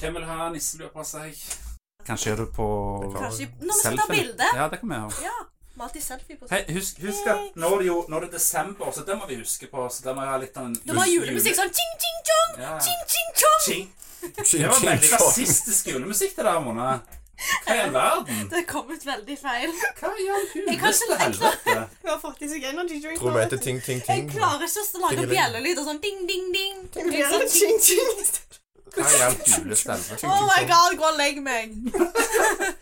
Hvem vil ha nisselua på seg? Kanskje gjør du på Kanskje Når vi skal ta bilde! Ja, det kan vi gjøre. Ja. Vi har alltid selfie på Hei, husk, husk at nå er, det jo, nå er det desember, så det må vi huske på. Så det må være litt av en Du må ha julemusikk sånn ching ching chong, Ja. ching ching chong. Ching. Det var veldig rasistisk julemusikk, det der, Mona. Hva i all verden? Det kom ut veldig feil. Hva i all Jeg kan huleste ikke- helvete? Hun har fått i seg energy drink. Tror vi heter Ting Ting Jeg Ting. klarer ikke å lage Tingeling. bjellelyder sånn ding ding ding. Ting, Litt sånn ching. ting, ting. Hva i all huleste helvete? Oh my god, gå og legg meg.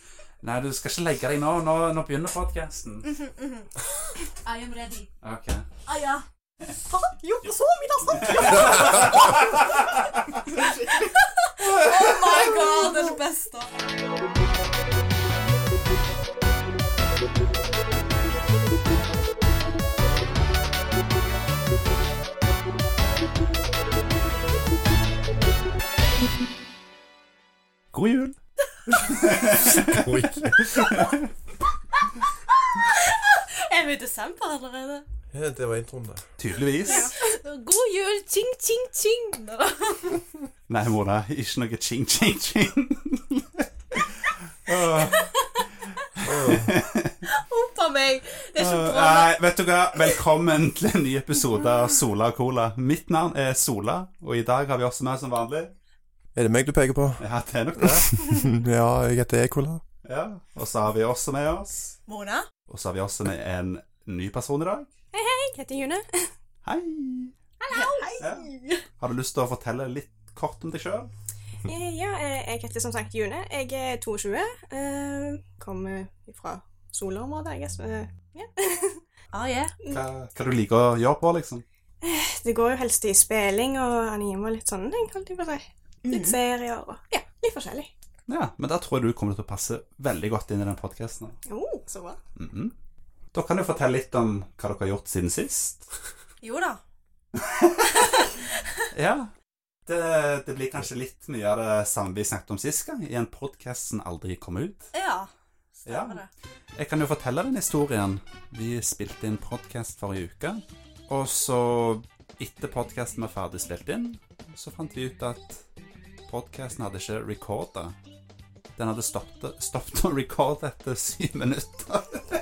Nei, du skal ikke legge deg nå. Nå, nå begynner podkasten. Mm. I am ready. Ok. Ah, ja. Faen, jo, så mye da, sant? Oh my god, det er det beste. God jul. Er vi i desember allerede? Ja, det var introen, det. Tydeligvis. God jul, ching ching ching. Nå da. Nei, Mona. Ikke noe ching, ching, ching. Humpa meg. Det er ikke bra. Eh, Nei, vet du hva? Velkommen til en ny episode av Sola og Cola. Mitt navn er Sola, og i dag har vi også med som vanlig Er det meg du peker på? Ja, det er nok det. ja, jeg heter Ekola. Ja. Og så har vi også med oss Mona? Og så har vi også med en ny person i dag. Jeg heter June. Hei. Ja. Har du lyst til å fortelle litt kort om deg sjøl? Eh, Ja, eh, jeg heter som sagt June. Jeg er 22. eh, Kommer fra solområdet, jeg guess. Eh, Ah, yeah. Hva, hva du liker å gjøre på, liksom? Det går jo helst i spilling og anime og litt sånn, sånne ting, holdt jeg på å si. Mm. Litt serier og ja, litt forskjellig. Ja, men der tror jeg du kommer til å passe veldig godt inn i den podkasten. Oh, så bra. Da kan du fortelle litt om hva dere har gjort siden sist. Jo da. Ja. Det, det blir kanskje litt mye av det samme vi snakket om sist gang, i en podkast som aldri kom ut. Ja. Ja. Stemmer det. Jeg kan jo fortelle den historien. Vi spilte inn podkast forrige uke, og så, etter podkasten var ferdig spilt inn, så fant vi ut at podkasten hadde ikke recorda. Den hadde stoppet, stoppet å recorde etter syv minutter.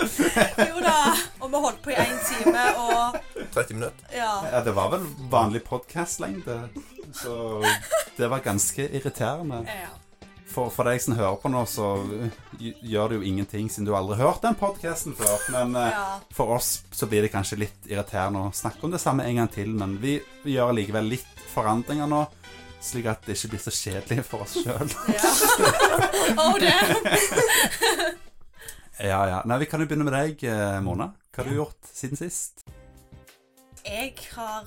Jo da. Og vi holdt på i én time, og 30 minutter. ja. Ja, det var vel vanlig podkastlengde, så det var ganske irriterende. ja. For, for deg som hører på nå, så eh, gj- gjør det jo ingenting siden du aldri har hørt den podkasten før. Men eh, ja. for oss så blir det kanskje litt irriterende å snakke om det samme en gang til. Men vi gjør likevel litt forandringer nå, slik at det ikke blir så kjedelig for oss sjøl. ja. Oh, damn. Ja, ja. Nei, vi kan jo begynne med deg, eh, Mona. Hva har du gjort siden sist? Jeg har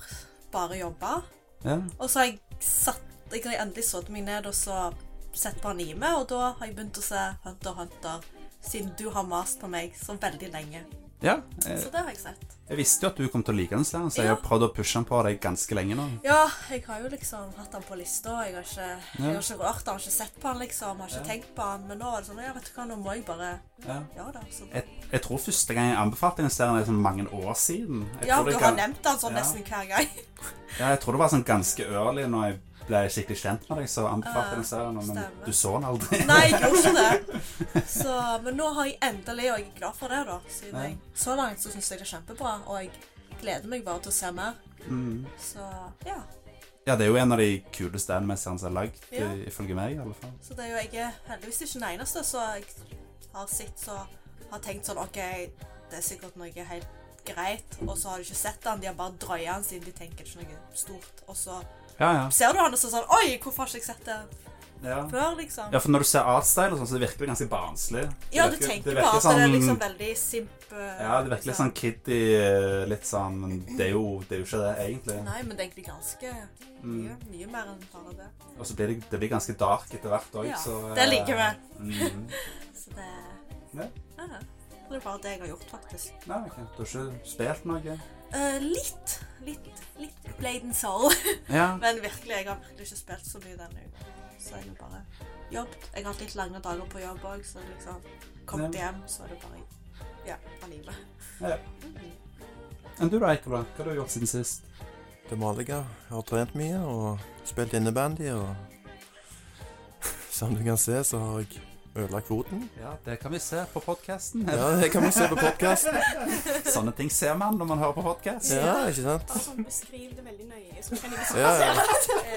bare jobba. Ja. Og så har jeg satt Jeg har endelig satt meg ned og så sett på anime, og da har jeg begynt å se Hunter x Hunter. Siden du har mast på meg så veldig lenge. ja Så jeg, det har jeg sett. jeg visste jo at du kom til å like den, serien, så jeg har prøvd å pushe den på deg ganske lenge nå. Ja, jeg har jo liksom hatt han på lista. Jeg har ikke, jeg Ja. har ikke rørt han, har ikke sett på han liksom. Har ikke tenkt på han. Men nå er det sånn Ja, vet du hva, nå må jeg bare Ja. Ja da. Så. Jeg, jeg tror første gang jeg anbefalte den serien, er sånn mange år siden. Jeg Ja, tror du det har kan- nevnt han sånn Ja. nesten hver gang. Ja, jeg tror det var sånn ganske early når jeg ble skikkelig kjent med deg, så anbefalte jeg den serien, men Ah, stemmer. du så den aldri. Nei, jeg gjorde ikke det. Så, men nå har jeg endelig, og jeg er glad for det, da. Siden Ja. jeg, så langt så syns jeg det er kjempebra, og jeg gleder meg bare til å se mer. Så ja. Mm. Ja, det er jo en av de kuleste anime-seriene som er lagd, Ja. i- ifølge meg i alle fall. Så det er jo jeg er heldigvis ikke den eneste som jeg har sett så har tenkt sånn OK, det er sikkert noe helt greit, og så har de ikke sett han, de har bare drøya han siden de tenker ikke noe stort. Og så Ja, ja. ser du han og så er det sånn Oi, hvorfor har ikke jeg sett det Ja, før, liksom? ja for når du ser artstyle og sånn, så virker det ganske barnslig. Det Ja, du virker- tenker virker bare at det er sånn- liksom veldig simple Ja, det virker litt sånn kiddie, litt sånn, men det er jo, det er jo ikke det, egentlig. Nei, men det er egentlig ganske Mm. mye, mye mer enn bare det. Og så blir det, det blir ganske dark etter hvert òg, Ja, så eh, det liker vi. mhm. Så det Ja. ja. ja. Det er bare det jeg har gjort, faktisk. Nei, ok. Du har ikke spilt noe? Eh, litt, litt, litt Blade and Soul. Ja. Men virkelig, jeg har virkelig ikke spilt så mye denne uka. Så jeg har bare jobbet. Jeg har hatt litt lange dager på jobb òg, så liksom Kommet hjem, så er det bare Mm. ja, anime. ja. Men du da, Eikola, hva har du gjort siden sist? Det vanlige. Jeg har trent mye og spilt innebandy og Som du kan se, så har jeg ødelagt foten. Ja, det kan vi se på podkasten. Ja, det kan man se på podkasten. Sånne ting ser man når man hører på podkast. Ja, ikke sant? Altså, beskriv det veldig nøye, så kan jeg Ja, ja.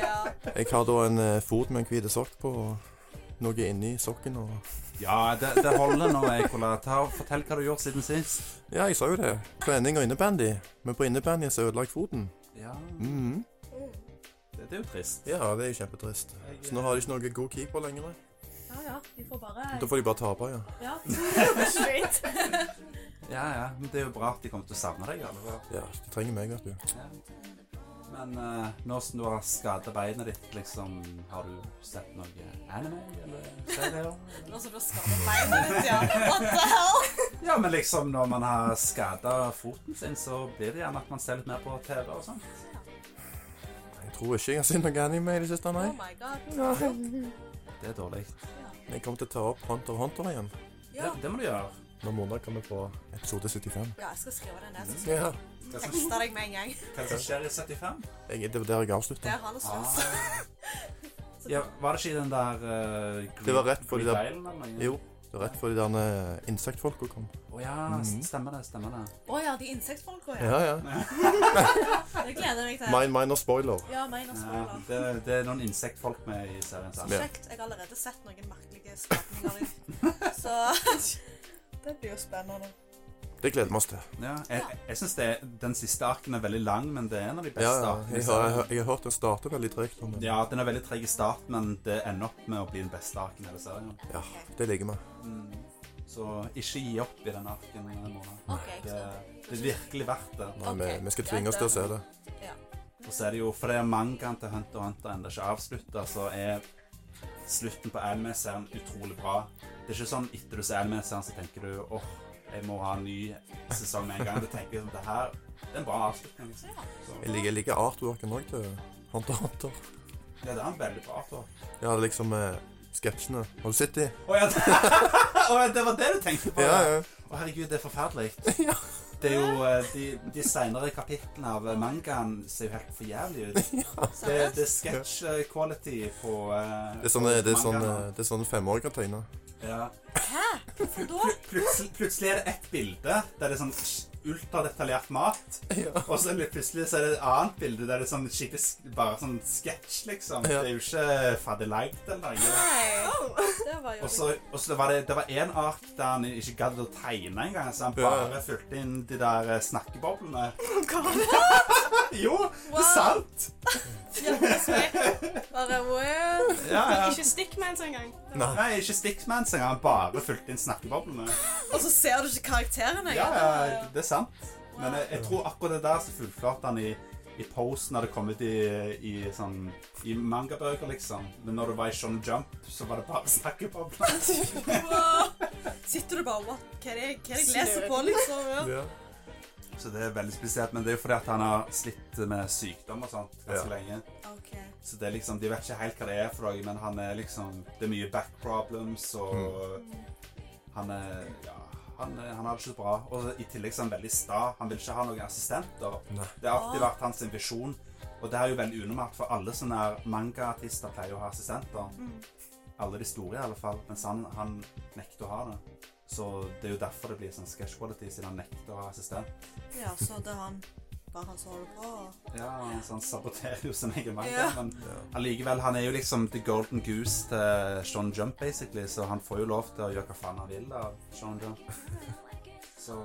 Ja. Jeg har da en eh, fot med en hvit sokk på, og noe inni sokken og Ja, det, det holder nå, Ekola. Ta og Fortell hva du har gjort siden sist. Ja, jeg sa jo det. Trening og innebandy. Men på innebandy så ødelagt foten. Ja, Mhm. det, det er jo trist. Ja, det er jo kjempetrist. Så nå har de ikke noe god keeper lenger. ja, ja. Vi får bare Da får de bare tape, ja. Ja. Straight. Ja, ja, men det er jo bra at de kommer til å savne deg. Eller? Ja, De trenger meg, vet du. Ja. Men eh, nå som du har skadet beinet ditt, liksom, har du sett noe anime eller serier? Nå som du har skadet beinet ditt, ja. What the hell? Ja, men liksom når man har skadet foten sin, så blir det gjerne at man ser litt mer på TV og sånn. Jeg tror ikke jeg har sett noe anime i det siste, nei. Oh my god. Det er dårlig. Jeg kommer til å ta opp Hunter x Hunter igjen. Ja. Det, det må du gjøre. Når måneder kommer på episode 75. ja, jeg skal skrive det ned. Så skal Ja. Hva jeg som, tekste deg med en gang. hva som skjer i 75? Jeg, det var der jeg Det avslutta. er han og Ah. slåss. Ja, var det ikke i den der uh, Green, Det var rett for de Green der- Island eller noe? Jo. Det var rett før de der eh, insektfolka kom. Å ja, s- stemmer det, stemmer det. Å ja, de insektfolka, ja. Ja, ja. Det gleder jeg meg til. Mine minor spoiler. Ja, mine Ja, spoiler. det, det er noen insektfolk med i serien. Så Sant? Ja. kjekt. Jeg har allerede sett noen merkelige skapninger. i- Så det blir jo spennende. Det gleder vi oss til. Ja, jeg jeg syns den siste arken er veldig lang, men det er en av de Ja, beste ja. arkene. i Jeg har, jeg, serien. har, jeg har hørt den starte veldig tregt. nå, men- Ja, den er veldig treg i starten, men det ender opp med å bli den beste arken i hele serien. Ja, det liker vi. Mm. Så ikke gi opp i den arken. eh, Mona. OK. Det, Så, det er virkelig verdt det. Nei, Ok, vi, vi skal greit, tvinge oss til å se det. Og så er det jo, for det er mangaen til Hunter x Hunter ennå ikke avslutta, så er slutten på anime-serien utrolig bra. Det er ikke sånn etter du ser anime-serien, så tenker du åh, jeg må ha en ny sesong med en gang. Du tenker liksom, det her det er en bra avslutning. liksom. Så, Jeg liker, jeg liker artworken òg til Hunter x Hunter. ja, det er en veldig bra artwork. Ja, det er liksom eh, sketsjene. Har du sett de? Å ja, det- Å ja, det var det du tenkte på? Ja, ja. Å herregud, det er forferdelig. Det er jo, eh, de, de seinere kapitlene av eh, mangaen ser jo helt for jævlig ut. Det, det er sketch eh, quality på eh, Det er sånn, eh, det er sånn, mangaen. eh, det er sånn femåring kan tegne. Ja. Hvorfor da? Plutselig, plutselig er det ett bilde der det er sånn ultradetaljert mat, Ja. og så er det plutselig så er det et annet bilde der det er sånn skikkelig sk- bare sånn sketsj, liksom. Ja. Det er jo ikke fadderlight eller noe. Nei. Det var jo Og så og så var det, det var én ark der han ikke gadd å tegne engang, så han Ja. bare fulgte inn de der eh, snakkeboblene. kan Jo, det er sant! bare what? Ja, ja. Ikke stikk med en sånn gang. Nei, ikke Stickman engang. Han bare fulgte inn snakkeboblene. Og så ser du ikke karakterene Ja, engang. ja, det er sant. Men jeg, jeg tror akkurat det der så fullførte han i, i Pose når det kom ut i, i, sånn, i mangabøker, liksom. Men når det var i Sean Jump, så var det bare snakkebobler. Wow. Sitter du bare what? Hva er det hva er det jeg leser på, liksom? Ja. Ja. Så det er veldig spesielt. Men det er jo fordi at han har slitt med sykdom og sånt ganske Ja. lenge. OK. Så det er liksom, de vet ikke helt hva det er for noe, men han er liksom Det er mye back problems, og han er Ja. Han, er- han har det ikke så bra. Og i tillegg så er han veldig sta. Han vil ikke ha noen assistenter. Nei. Det har alltid vært hans visjon. Og det er jo veldig unormalt, for alle sånne her manga-artister pleier å ha assistenter. Alle de store, i alle fall. Mens han, han nekter å ha det. Så det er jo derfor det blir sånn sketch quality, siden han nekter å ha assistent. Ja, så det er han bare han som holder på. Ja, Så han sånn saboterer jo sin egen manga. Ja. Men allikevel, han er jo liksom the golden goose til Sean Jump, basically, så han får jo lov til å gjøre hva faen han vil av Sean Jump. Så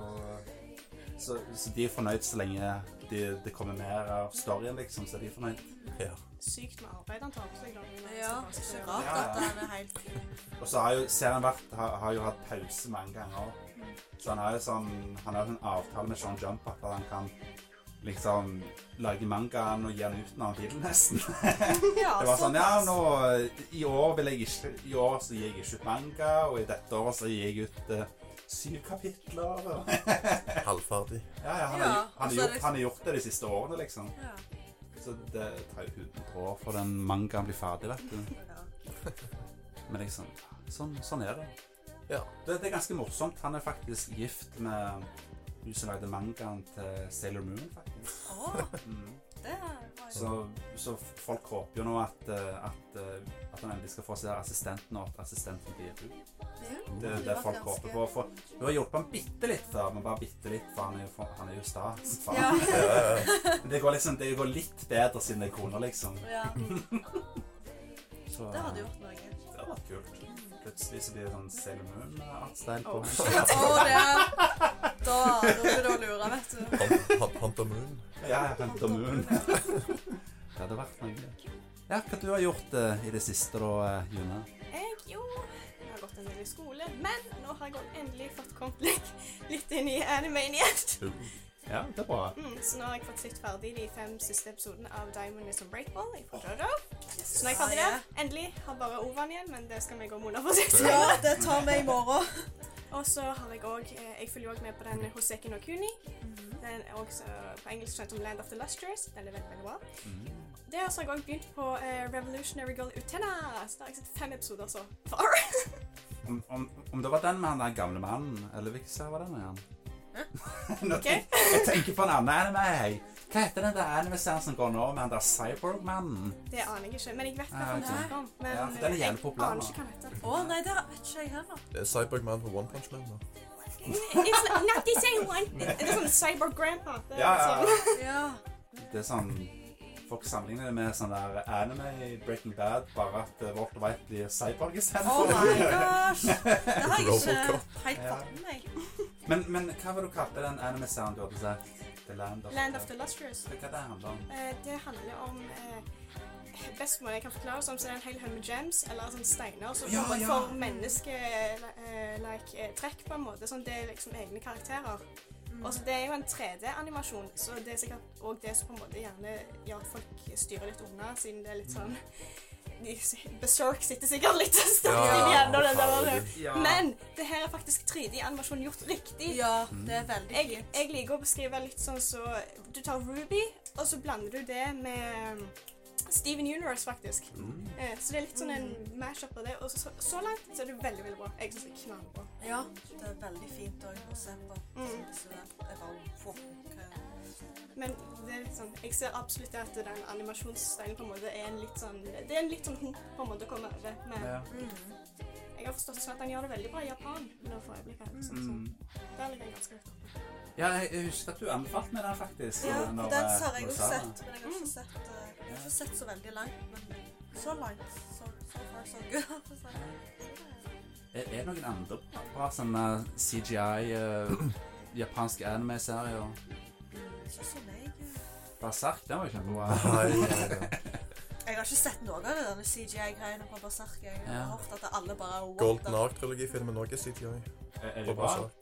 så, så de er fornøyd så lenge de- det kommer mer av storyen, liksom. Så er de fornøyd. Ja. Sykt med arbeid han tar på seg. da. Men Ja, det er ikke så rart at han er helt Og så har jo serien vært, har, har jo hatt pause mange ganger. Så han har jo sånn, han har jo en avtale med Sean Jump at han kan liksom lage mangaen og gi den ut når han vil, nesten. Ja, Det var Altså, sånn, ja, nå, i år vil jeg ikke, i år så gir jeg ikke ut manga, og i dette året så gir jeg ut eh, syv kapitler. Og, Halvferdig. ja, ja, han, har, Ja, gj- han, og så har er gjort, det- han har gjort det de siste årene, liksom. Ja. Så det tar jo 100 år for den mangaen blir ferdig, vet du. Men liksom, sånn, sånn er det. Ja. Det, det er ganske morsomt. Han er faktisk gift med hun som lagde mangaen til Sailor Moon, faktisk. Å, Mm. det var jo Så, så folk håper jo nå at, eh, at, eh, at men de skal få seg assistenten, og at assistenten blir hun. Ja. Det er det folk håper på. For hun har hjulpet ham bitte litt før, men bare bitte litt, for han er jo, han er jo sta. som faen. Ja. Men Det går liksom, det går litt bedre siden det er kona, liksom. ja. Så, Det hadde gjort noe. Det hadde vært kult. Plutselig så blir det sånn Sailor Moon-artstyle på Oh, henne. Å, det er Da da blir det å lure, vet du. Han- han- Hunter Moon. Ja, jeg henter Moon. Det hadde vært noe. Ja, hva du har gjort eh, i det siste da, eh, June? Jeg, jo, jeg har gått en del i skole, men nå har jeg gått- endelig fått kommet litt, litt inn i animen igjen. Ja, det er bra. Mm, så nå har jeg fått sett ferdig de fem siste episodene av Diamond is a Breakball fra Jojo. Så nå er jeg ferdig der. Endelig har bare Ovan igjen, men det skal vi gå måned for sist. Ja, det tar vi i morgen. Og så har jeg òg Jeg følger òg med på den Hoseki no Kuni. Den er også eh, på engelsk kjent som Land of the Lustrous. Den er veldig, veldig bra. Mm. Der så har jeg òg begynt på eh, Revolutionary Girl Utena. Så da har jeg sett fem episoder så far. Om, om, om det var den med han der gamle mannen, eller hvilken serie var den med han? Nå Ok. tenk- jeg tenker på en annen anime. hei. Hva heter den der anime-serien som går nå med han der cyborg-mannen? Det aner jeg ikke, men jeg vet hva Ah, han ok. snakker om. Men Ja, for den er eh, jeg jævlig populær, aner da. ikke hva han heter. Å, nei, det vet ikke jeg heller. Det er Cyborg-Man på One Punch Man. da. It's not, not the same one. Det er sånn Cyborg Grandpa. Det er sånn. Ja. Det er sånn Folk sammenligner det med sånn der anime i Breaking Bad, bare at eh, Walter White blir cyborg Oh my istedenfor. gosh. Det har jeg ikke Robocop. helt Ja. fått med meg. men, men hva var det du kalte den anime-serien du hadde sett? The Land of, Land of the Lustrous. Hva det handler om? Eh, det handler om eh, Best måte jeg kan forklare som så er det en hel haug med gems, eller sånne steiner, som eh, Ja, får- ja. får menneske-trekk, på en måte. Sånn, det er liksom egne karakterer. Mm. Og så Det er jo en 3D-animasjon, så det er sikkert òg det som på en måte gjerne gjør at folk styrer litt unna, siden det er litt sånn de, Berserk sitter sikkert litt sterkt Ja, i hjernen. den der. herregud. Ja. Men det her er faktisk 3D-animasjon gjort riktig. Ja, det er veldig Jeg, fint. jeg liker å beskrive litt sånn så Du tar Ruby, og så blander du det med mm, Steven Universe, faktisk. Mm. Eh, Så det er litt sånn en Mm. mash-up av det. Og så, så langt så er det veldig veldig bra. Jeg syns det er knallbra. Ja, det er veldig fint òg å se på. Mm. Så det var jo Men det er litt sånn, jeg ser absolutt at den animasjonsstilen på en måte er en litt sånn Det er en litt sånn hump på en måte å komme over. Men Ja. mm. jeg har forstått det sånn at han gjør det veldig bra i Japan. Nå får jeg blikket her. Sånn, Mm. så der ligger han ganske høyt oppe. Ja, jeg jeg husker at du anbefalte meg den, faktisk. Ja, når, den eh, har jeg når du også sa den. sett. Men jeg har ikke sett, eh, jeg har ikke sett så veldig langt. Men så langt. So, so far, so good. Så, Er er det noen andre bra sånne CGI, eh, japanske anime-serier? ikke som jeg. Berserk, den var jo kjempebra. Nei, nei, eh, nei. Jeg har ikke sett noe av det denne CGI-greiene på Berserk. Jeg har Ja. hørt at alle bare what Golden the- Ark-trilogifilmen òg er CTI. Er, er På det bra? Berserk.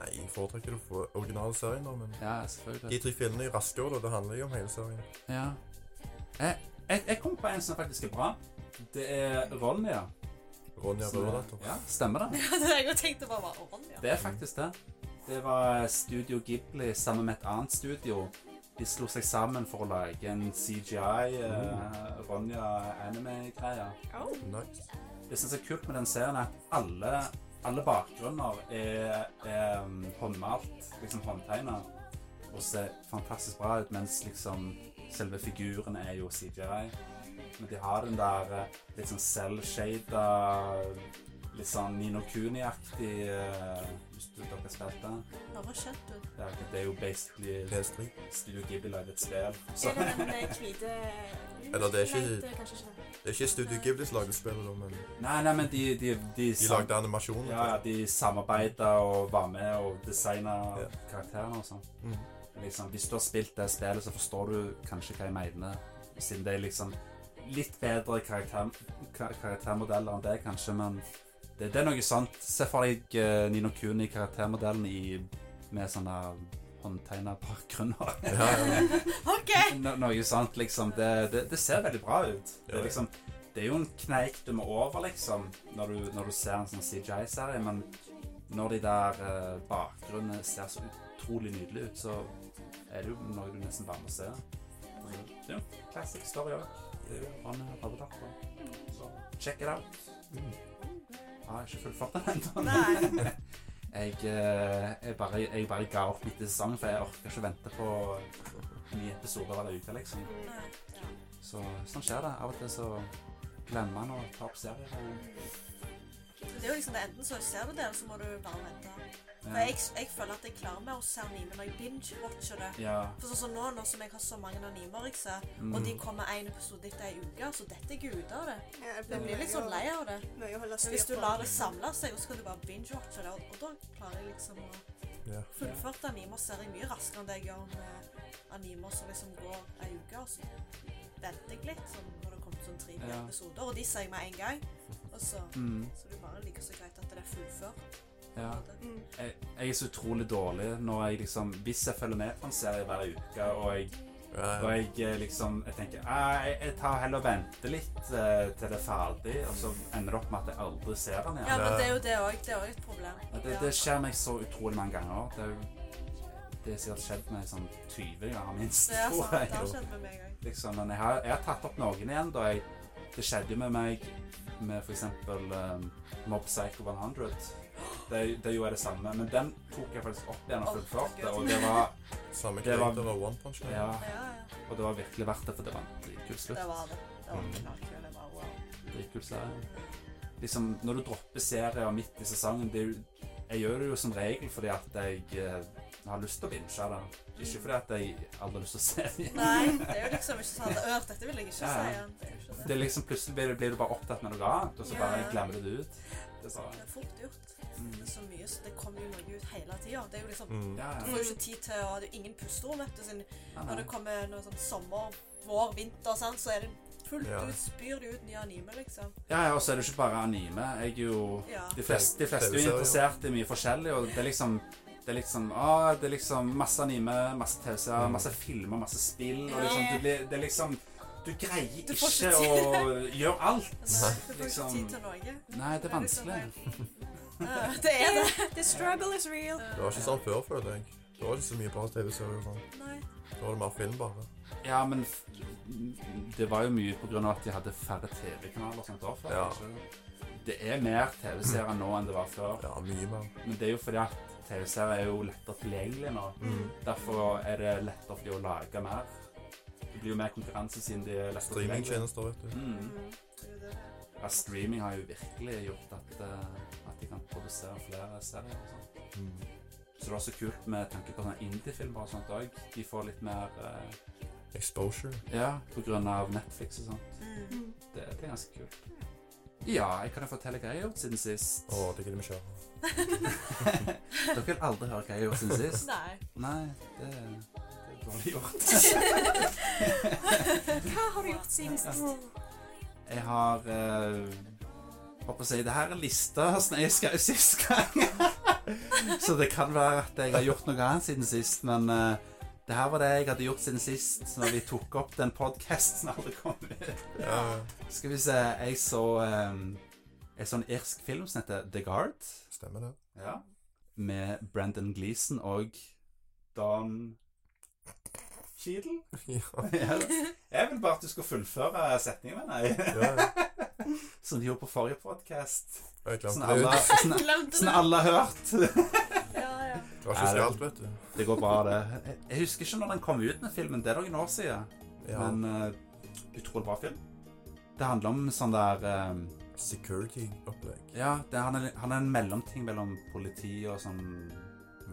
Nei, jeg foretrekker det for originale serien, da, men Ja, de selvfølgelig. tre filmene i raskere, da. Det handler jo om hele serien. Ja. Jeg, jeg, jeg kom på en som faktisk er bra. Det er Ronja. Ronja som- Røverdatter. Ja, stemmer det. Ja, det er jeg tenkte bare var Ronja. Det er faktisk det. Det var Studio Ghibli sammen med et annet studio. De slo seg sammen for å lage en CGI eh, Ronja anime-greie. Oh. Nice. Det som er kult med den serien, er at alle, alle bakgrunner er, er um, håndmalt, liksom håndtegna, og ser fantastisk bra ut, mens liksom selve figuren er jo CGI. Men de har den der eh, litt sånn selvshada, litt sånn Nino Kuni-aktig eh, Hvis du- dere spilte. Det var kjent ut. Det er, det er jo basically PS3. Studio Ghibli lagde et spill. Så, Er det den eh, hvite Eller det er ikke- Nei, det er kanskje ikke det. Det er ikke Studio Ghibli som lagde spillet, da, men nei, nei, men de, de, de, de lagde animasjoner. Ja, ja, de samarbeida og var med og designa Ja. karakterene og sånn. Mm. Liksom, hvis du har spilt det spillet, så forstår du kanskje hva jeg mener. Siden det er liksom litt bedre karakter, ka- karaktermodeller enn det, kanskje, men det, det er noe sånt. Se for deg eh, Nino Kuni-karaktermodellen i, med sånn der håndtegna bakgrunn og Ja, ja. OK! no, noe sånt, liksom. Det, det, det ser veldig bra ut. Det Ja. er liksom Det er jo en kneik du må over, liksom, når du, når du ser en sånn CJI-serie, men når de der eh, bakgrunnene ser så utrolig nydelig ut, så er det jo noe du nesten bare må se. Så Det er jo classic story òg. Det er jo han her har tatt på. Så check it out. Mm. Jeg har ikke fullført den ennå. Nei. Jeg, eh, jeg, bare, jeg bare ga opp etter sesongen, for jeg orker ikke vente på nye episoder hver uke, liksom. Mm. Nei. Så sånn skjer det. Av og til så glemme han og ta opp serien. Det er jo liksom det, Enten så ser du det, eller så må du bare vente. For Ja. jeg, jeg føler at jeg klarer mer å se anime når jeg binge-watcher det. Ja. For sånn som nå, nå som jeg har så mange animer jeg ser, Mm. og de kommer én episode etter ei uke, så detter jeg ut av det. Ja, jeg Jeg blir litt sånn lei av det. Mye å holde Men styr hvis du på. lar det samle seg, og så kan du bare binge-watche det, og, og da klarer jeg liksom å Ja. Fullført animer ser jeg mye raskere enn det jeg gjør med animer som liksom går ei uke, og så venter jeg litt, sånn når det kommer sånn tre Ja. episoder, og de ser jeg med en gang, og så Mm. så det er bare like så greit at det er fullført. på en ja. måte. Mm. Jeg, jeg er så utrolig dårlig når jeg liksom Hvis jeg følger med på en serie hver uke, og jeg, og Ja, ja. jeg eh, liksom Jeg tenker «Ah, jeg, jeg tar heller og venter litt eh, til det er ferdig, og så ender det opp med at jeg aldri ser den Ja, igjen. men det er jo det òg. Det er òg et problem. Ja, Det, det skjer meg så utrolig mange ganger. Det er jo det har sikkert skjedd meg sånn 20 ganger minst. Det er tror sant. Det jeg jo. har skjedd med meg òg. liksom, men jeg har, jeg har tatt opp noen igjen da jeg, det skjedde jo med meg med for eksempel um, Mob Psycho 100 det, det gjorde jeg det samme, men den tok jeg faktisk opp igjen og Å, fullførte, takk og det var, Samme Det var- kveld det var One Punch Man. ja, Ja, ja. og det var virkelig verdt det, for det var en dritkul Det slutt, var det. Det var knallkult. Det var wow. dritkul serie. Liksom, når du dropper serier midt i sesongen, det er jo, jeg gjør det jo som regel fordi at jeg eh, har lyst til å binge det, ikke fordi at jeg aldri har lyst til å se det igjen. Nei, det er jo liksom ikke sånn at Ørt, dette vil jeg ikke Ja, si ja. igjen. Det er jo ikke Det det. er liksom, plutselig blir, blir du bare opptatt med noe annet, og så Ja, bare ja. glemmer du det ut. Det sa Det jeg. er fort gjort. Mm. Det er så mye, så det kommer jo noe ut hele tida. Det er jo liksom Mm. Ja, Du ja. får jo ikke tid til å Det er jo ingen pusterom, vet du. Siden Ja, når nei. det kommer noe sånn sommer, vår, vinter, sant, så er det fullt Ja. ut, spyr det ut nye anime, liksom. Ja, ja, og så er det jo ikke bare anime. Jeg er jo Ja. De fleste, de fleste er jo TV-serier. interessert i mye forskjellig, og det er liksom det er liksom, ah, det er liksom masse anime, masse TV-serier, Mm. masse filmer, masse spill. Og Ja. liksom, du blir, det er liksom Du greier Du får ikke ikke tid. å gjøre alt. Altså, du får ikke Liksom. tid til noe. liksom Nei, det er vanskelig. Ja, det er det. The struggle is real. Det var ikke sånn før, føler jeg. Det var ikke så mye bra TV-serier og sånn. Nei. Da var det mer film, bare. Ja, men f- det var jo mye på grunn av at de hadde færre TV-kanaler og sånt da før. Ja. ikke? Det er mer TV-serier nå enn det var før, Ja, mye mer. men det er jo fordi at TV-serier er jo lettere tilgjengelig nå. Mm. Derfor er det lettere for de å lage mer. Det blir jo mer konkurranse siden de er lettere Streamingtjenester, vet du. Mm. Mm. Det er jo det. Ja, streaming har jo virkelig gjort at, eh, at de kan produsere flere serier. og sånt. Mm. Så det er også kult med tanke på sånne indie-filmer og sånt òg. De får litt mer eh, Exposure. Ja, på grunn av Netflix og sånt. Mm. Mm. Det, det er ganske kult. Ja, jeg kan jo fortelle hva jeg har gjort siden sist. Å, det gidder vi ikke gjøre. Dere vil aldri høre hva jeg har gjort siden sist. Nei. Nei, det, det er dårlig gjort. Hva har du gjort siden Mm. sist? Jeg har eh, Håper å si Det her er lista som jeg skrev sist gang. Så det kan være at jeg har gjort noe annet siden sist, men eh, det her var det jeg hadde gjort siden sist, når vi tok opp den podkasten som aldri kom ut. Ja. Skal vi se Jeg så eh, en sånn irsk film som heter The Guard, Stemmer det. ja. med Brendan Gleeson og Don Cheadle. Ja. Ja. Jeg vil bare at du skal fullføre setningen med deg. ja. Som de gjorde på forrige podkast. Jeg Sånn glemte det. alle, ut. sånn, Glemte sånn det. alle har hørt. Ja, ja. Det var ikke så galt, vet du. Det går bra, det. Jeg, jeg husker ikke når den kom ut, den filmen. Det er noen år siden. Ja. Men eh, utrolig bra film. Det handler om sånn der eh, Security-opplegg. Ja, det, han, er, han er en mellomting mellom politi og sånn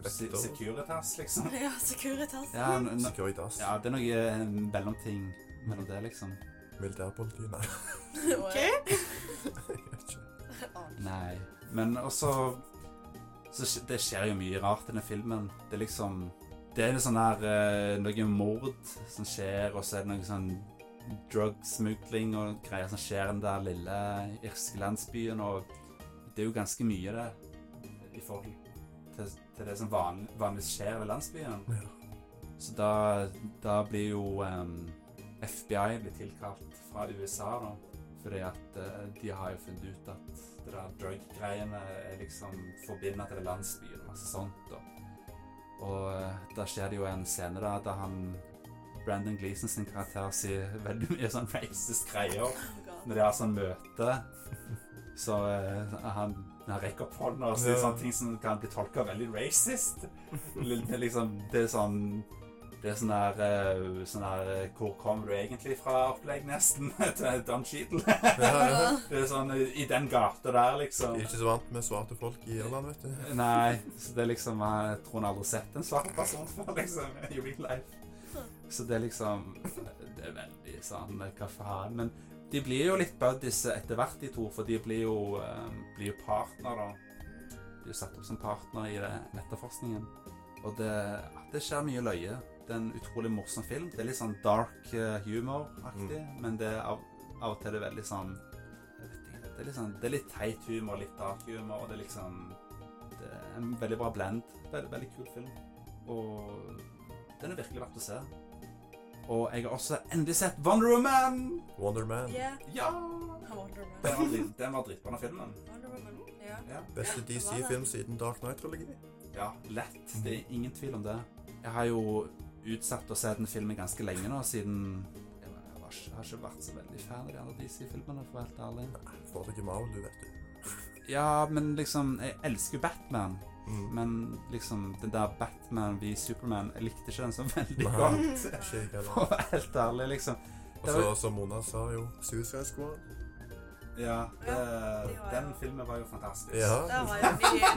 se- Vekter. Securitas, liksom. Ja, Securitas. Ja, n- n- Securitas. ja, det er noe eh, mellomting mellom det, liksom. Militærpoliti. Nei, Okay. jeg vet ikke. Nei. Men også så skj- Det skjer jo mye rart i den filmen. Det er liksom Det er litt sånn her eh, Noe mord som skjer, og så er det noe sånn drugsmugling og greier som skjer i den der lille irske landsbyen, og det er jo ganske mye, det, i forhold til, til det som van, vanligvis skjer ved landsbyen. Ja. Så da, da blir jo em, FBI blir tilkalt fra USA, da. Fordi at eh, de har jo funnet ut at det der drug-greiene er liksom forbindet til landsbyen og masse sånt. Og, og eh, da skjer det jo en scene da, da han Brandon Gleason sin karakter sier veldig mye sånn racist greier Oh God. når de har sånn møte. Så eh, han, han rekker opp hånda og sier Ja. sånne ting som kan bli tolka veldig racist. L- Det er liksom Det er sånn Det er sånn der, eh, sånn der eh, Hvor kommer du egentlig fra? opplegg, nesten. Til Don Cheadle. Ja, ja. Det er sånn eh, i den gata der, liksom. Jeg er ikke så vant med svarte folk i Irland, vet du. Nei, så det er liksom eh, Jeg tror han aldri har sett en svart person før, liksom. I real life. Så det er liksom Det er veldig sånn eh, Hva faen? Men de blir jo litt buddies etter hvert, de to, for de blir jo, eh, blir jo partner, da. De er jo satt opp som partner i det etterforskningen. Og det, det skjer mye løye. Det er en utrolig morsom film. Det er litt sånn dark eh, humor-aktig, men det er av, av og til det er veldig sånn jeg vet ikke, det er, litt sånn, det er litt teit humor, litt dark humor, og det er liksom det er en veldig bra blend. Veldig, veldig kul film. Og den er virkelig verdt å se. Og jeg har også endelig sett Wonder Woman! Wonder Man. Yeah. Ja! Wonder Woman. Den var, drit, den var dritbra, den filmen. Wonder Woman. Ja. Ja. Beste DC-film siden Dark Knight-trilogi. ja, lett. Mm. Det er ingen tvil om det. Jeg har jo utsatt å se den filmen ganske lenge nå, siden jeg, var, jeg, var, ikke- har ikke vært så veldig fan av de andre DC-filmene, for å være helt ærlig. Får dere Marvel, du, vet du. Ja, men liksom Jeg elsker jo Batman, Mm. men liksom den der Batman v Superman Jeg likte ikke den så veldig Nei. godt. Ikke jeg For å heller. være helt ærlig, liksom. Og så, som Mona sa jo, Suicide Squad. Ja, det, var den jo- filmen var jo fantastisk. Ja. Der var jo mye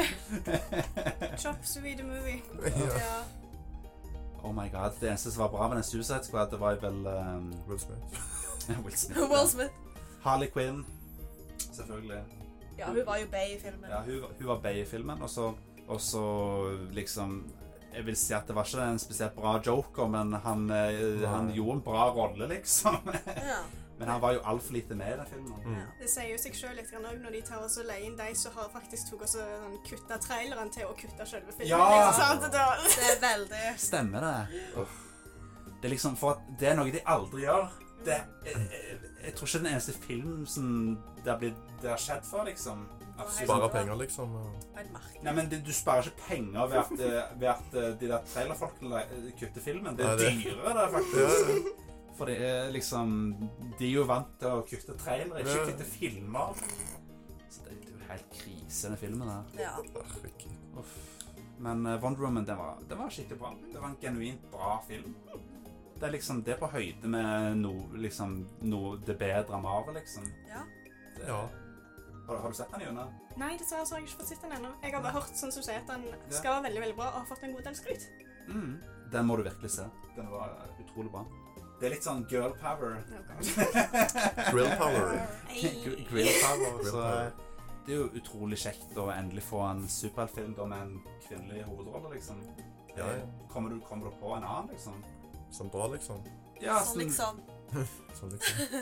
nydelig. Chop suey the movie. ja. Ja. Oh my god. Det eneste som var bra med den Suicide Squad, det var jo vel ehm, Will Smith. Will Smith. Will Smith. Harley Quinn. Selvfølgelig. Ja, hun var jo Bay i filmen. Ja, hun, hun var bay i filmen, og så, og så liksom jeg vil si at det var ikke en spesielt bra joker, men han, eh, han Nei. gjorde en bra rolle, liksom. Ja. Men han var jo altfor lite med i den filmen. Mm. Det sier jo seg sjøl litt grann også når de tar og så leier inn de som har faktisk tok og så sånn, kutta traileren til å kutte selve filmen. Ja! Liksom, sant? Da. Det er veldig Stemmer det. Det er liksom for at det er noe de aldri gjør. Det, jeg, jeg, jeg tror ikke det er den eneste filmen som det har, blitt, det har skjedd for, liksom. Absolutt. Sparer penger, liksom. og- på en mark. Nei, men det, Du sparer ikke penger ved at, eh, ved at eh, de der trailerfolkene eh, kutter filmen. Det Nei, er det- dyrere, det, faktisk. For det er liksom De er jo vant til å kutte trailere, ikke Ja. kutte filmer. Så det, det er jo helt krise, den filmen der. Ja. Herregud. Uff. Men eh, Wonder Woman, den var, den var skikkelig bra. Det var en genuint bra film. Det er liksom det er på høyde med noe liksom, noe det bedre Marvel, liksom. ja. Det, Ja. har, har du sett den, June? Nei, dessverre så har jeg ikke fått sett den ennå. Jeg har bare hørt sånn som du sier at den Ja. skal være veldig veldig bra og har fått en god del skryt. Mm. Den må du virkelig se. Den var utrolig bra. Det er litt sånn girl power. Grill power. sånn- Gr- Ei. Grill power. Grill Så eh, power. det er jo utrolig kjekt å endelig få en superheltfilm da med en kvinnelig hovedrolle, liksom. Ja, ja. Kommer, du, kommer du på en annen, liksom? Som bra, liksom. Ja, Sånn liksom Som liksom.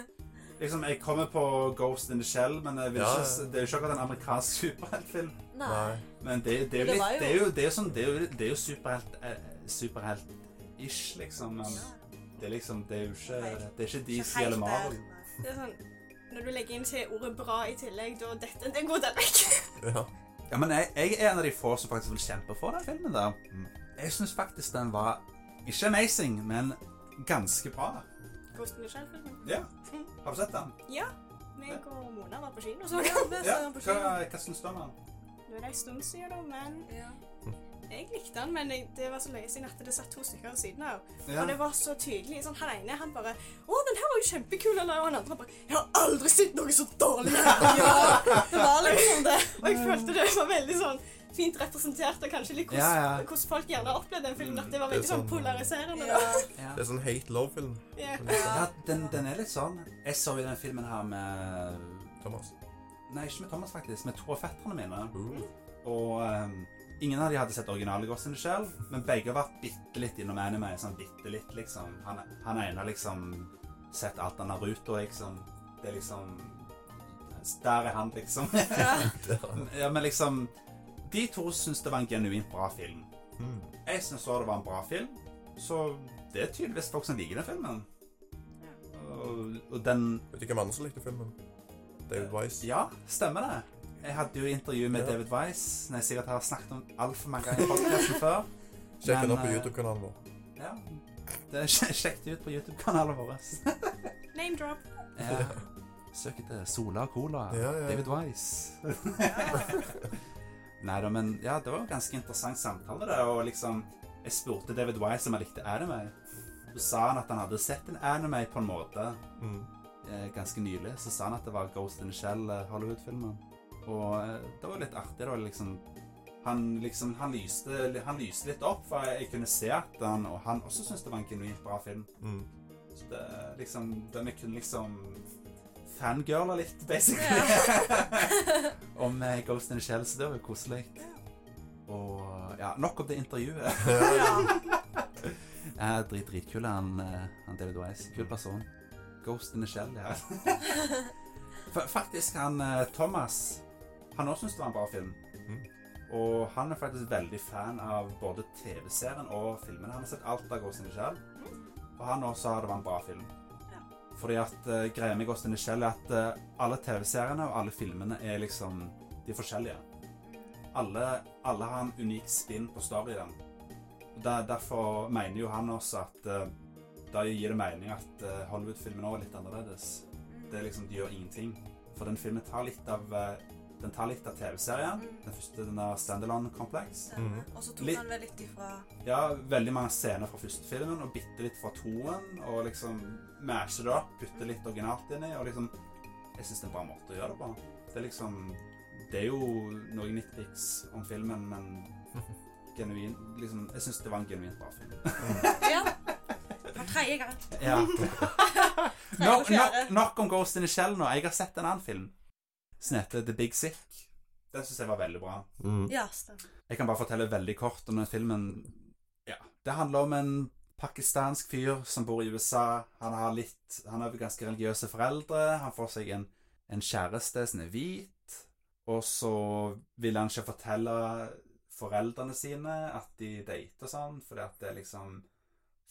Liksom, Jeg kommer på Ghost in the Shell, men jeg vil Ja, ikke, ja. s- det er jo ikke akkurat en amerikansk superheltfilm. Nei. Men det, det, er, jo Det var litt, jo- det, er, jo, det, er, sånn, det, er, jo, det er jo superhelt eh, superhelt-ish, liksom. Men Ja. det er liksom, det er jo ikke Det er ikke Ikke DC helt eller Marvel. der, nei. Det er sånn Når du legger inn til ordet 'bra' i tillegg, da detter det en god del vekk. Ja. Ja, men jeg, jeg er en av de få som faktisk vil kjempe for den filmen der. Mm. Jeg syns faktisk den var ikke amazing, men ganske bra. Ghost in the Shell-filmen. Ja. Har du sett den? Ja. Meg og Mona var på kino, så Ja, vi ser den på Hva, kino. hva syns du om den? Nå er det en stund siden, da, men Ja. jeg likte den. Men jeg, det var så løye siden at det satt to stykker ved siden av. Ja. Og det var så tydelig. sånn, Han ene han bare 'Å, den her var jo kjempekul.' Eller, og han andre bare 'Jeg har aldri sett noe så dårlig.' ja, det var sånn, liksom det. Og jeg følte det var veldig sånn fint representert, og kanskje litt hvordan, Ja, ja. hvordan folk gjerne opplevde den filmen. At det var Det er veldig sånn sånn- polariserende. Ja. da. Ja. Det er sånn hate liksom. love-film. Ja. Ja, den, den er litt sånn. Jeg så jo den filmen her med Thomas. Nei, ikke med Thomas, faktisk. Med to av fetterne mine. Uh. Og ehm, ingen av de hadde sett originale Ghost in the Shell, men begge har vært bitte litt innom anime. Sånn bitte litt, liksom. Han, han ene har liksom sett alt av Naruto, liksom. Det er liksom Der er han, liksom. ja, men liksom De to syns det var en genuint bra film. Mm. Jeg syns òg det var en bra film, så det er tydeligvis folk som liker den filmen. Og, og den Vet du hvem andre som likte filmen? David Wise. Ja, stemmer det. Jeg hadde jo intervju med Ja. David Wise, som jeg sikkert har snakket om altfor mange ganger i podcasten før. Sjekk den Men, opp på eh, YouTube-kanalen vår. Ja. Det er sj- Sjekk det ut på YouTube-kanalen vår. Name drop. Ja. Søk etter Sola og Cola. Ja, ja, ja. David Wise. Nei da, men ja, det var jo en ganske interessant samtale, det. Og liksom Jeg spurte David Wise om han likte anime. Så sa han at han hadde sett en anime på en måte Mm. eh, ganske nylig. Så sa han at det var Ghost in the Shell, eh, Hollywood-filmen. Og eh, det var litt artig. Det var liksom han, liksom, han, lyste, han lyste litt opp, for jeg kunne se at han, og han også syntes det var en genuint bra film. Mm. Så det, er liksom, det vi kunne liksom fangirle litt, basically. om eh, Ghost in the Shell, så det var jo koselig. Og ja, nok om det intervjuet. Jeg er drit, dritkul, han, eh, han David Wise. Kul person. Ghost in the Shell, ja. Fa- Faktisk, han eh, Thomas, han også syntes det var en bra film. Mm. Og han er faktisk veldig fan av både TV-serien og filmene. Han har sett alt av Ghost in the Shell. Og han også sa det var en bra film. Ja. Fordi at eh, greia med Ghost in the Shell er at eh, alle TV-seriene og alle filmene er liksom De er forskjellige. Alle, alle har en unik spinn på storyen. Og der, derfor mener jo han også at eh, da gir det mening at eh, Hollywood-filmen også er litt annerledes. Det er liksom, De gjør ingenting. For den filmen tar litt av eh, Den tar litt av TV-serien. Den første den er Standalone Complex. Stemmer. Mm. Og så tok Mm. Litt- han vel litt ifra Ja, veldig mange scener fra første filmen, og bitte litt fra toen, og liksom mashe det opp, putte litt originalt inn i, og liksom Jeg syns det er en bra måte å gjøre det på. Det er liksom Det er jo noe nitpics om filmen, men genuin Liksom, jeg syns det var en genuint bra film. Ja. For tredje gang. Ja. Tredje Nok, og fjerde. nok, nok om Ghost in the Shell nå. Jeg har sett en annen film som heter The Big Sick. Den syns jeg var veldig bra. Mm. Ja, stemmer. Jeg kan bare fortelle veldig kort om den filmen. Ja, det handler om en pakistansk fyr som bor i USA. Han har litt, han har ganske religiøse foreldre. Han får seg en, en kjæreste som er hvit. Og så vil han ikke fortelle foreldrene sine at de dater og sånn, fordi at det er liksom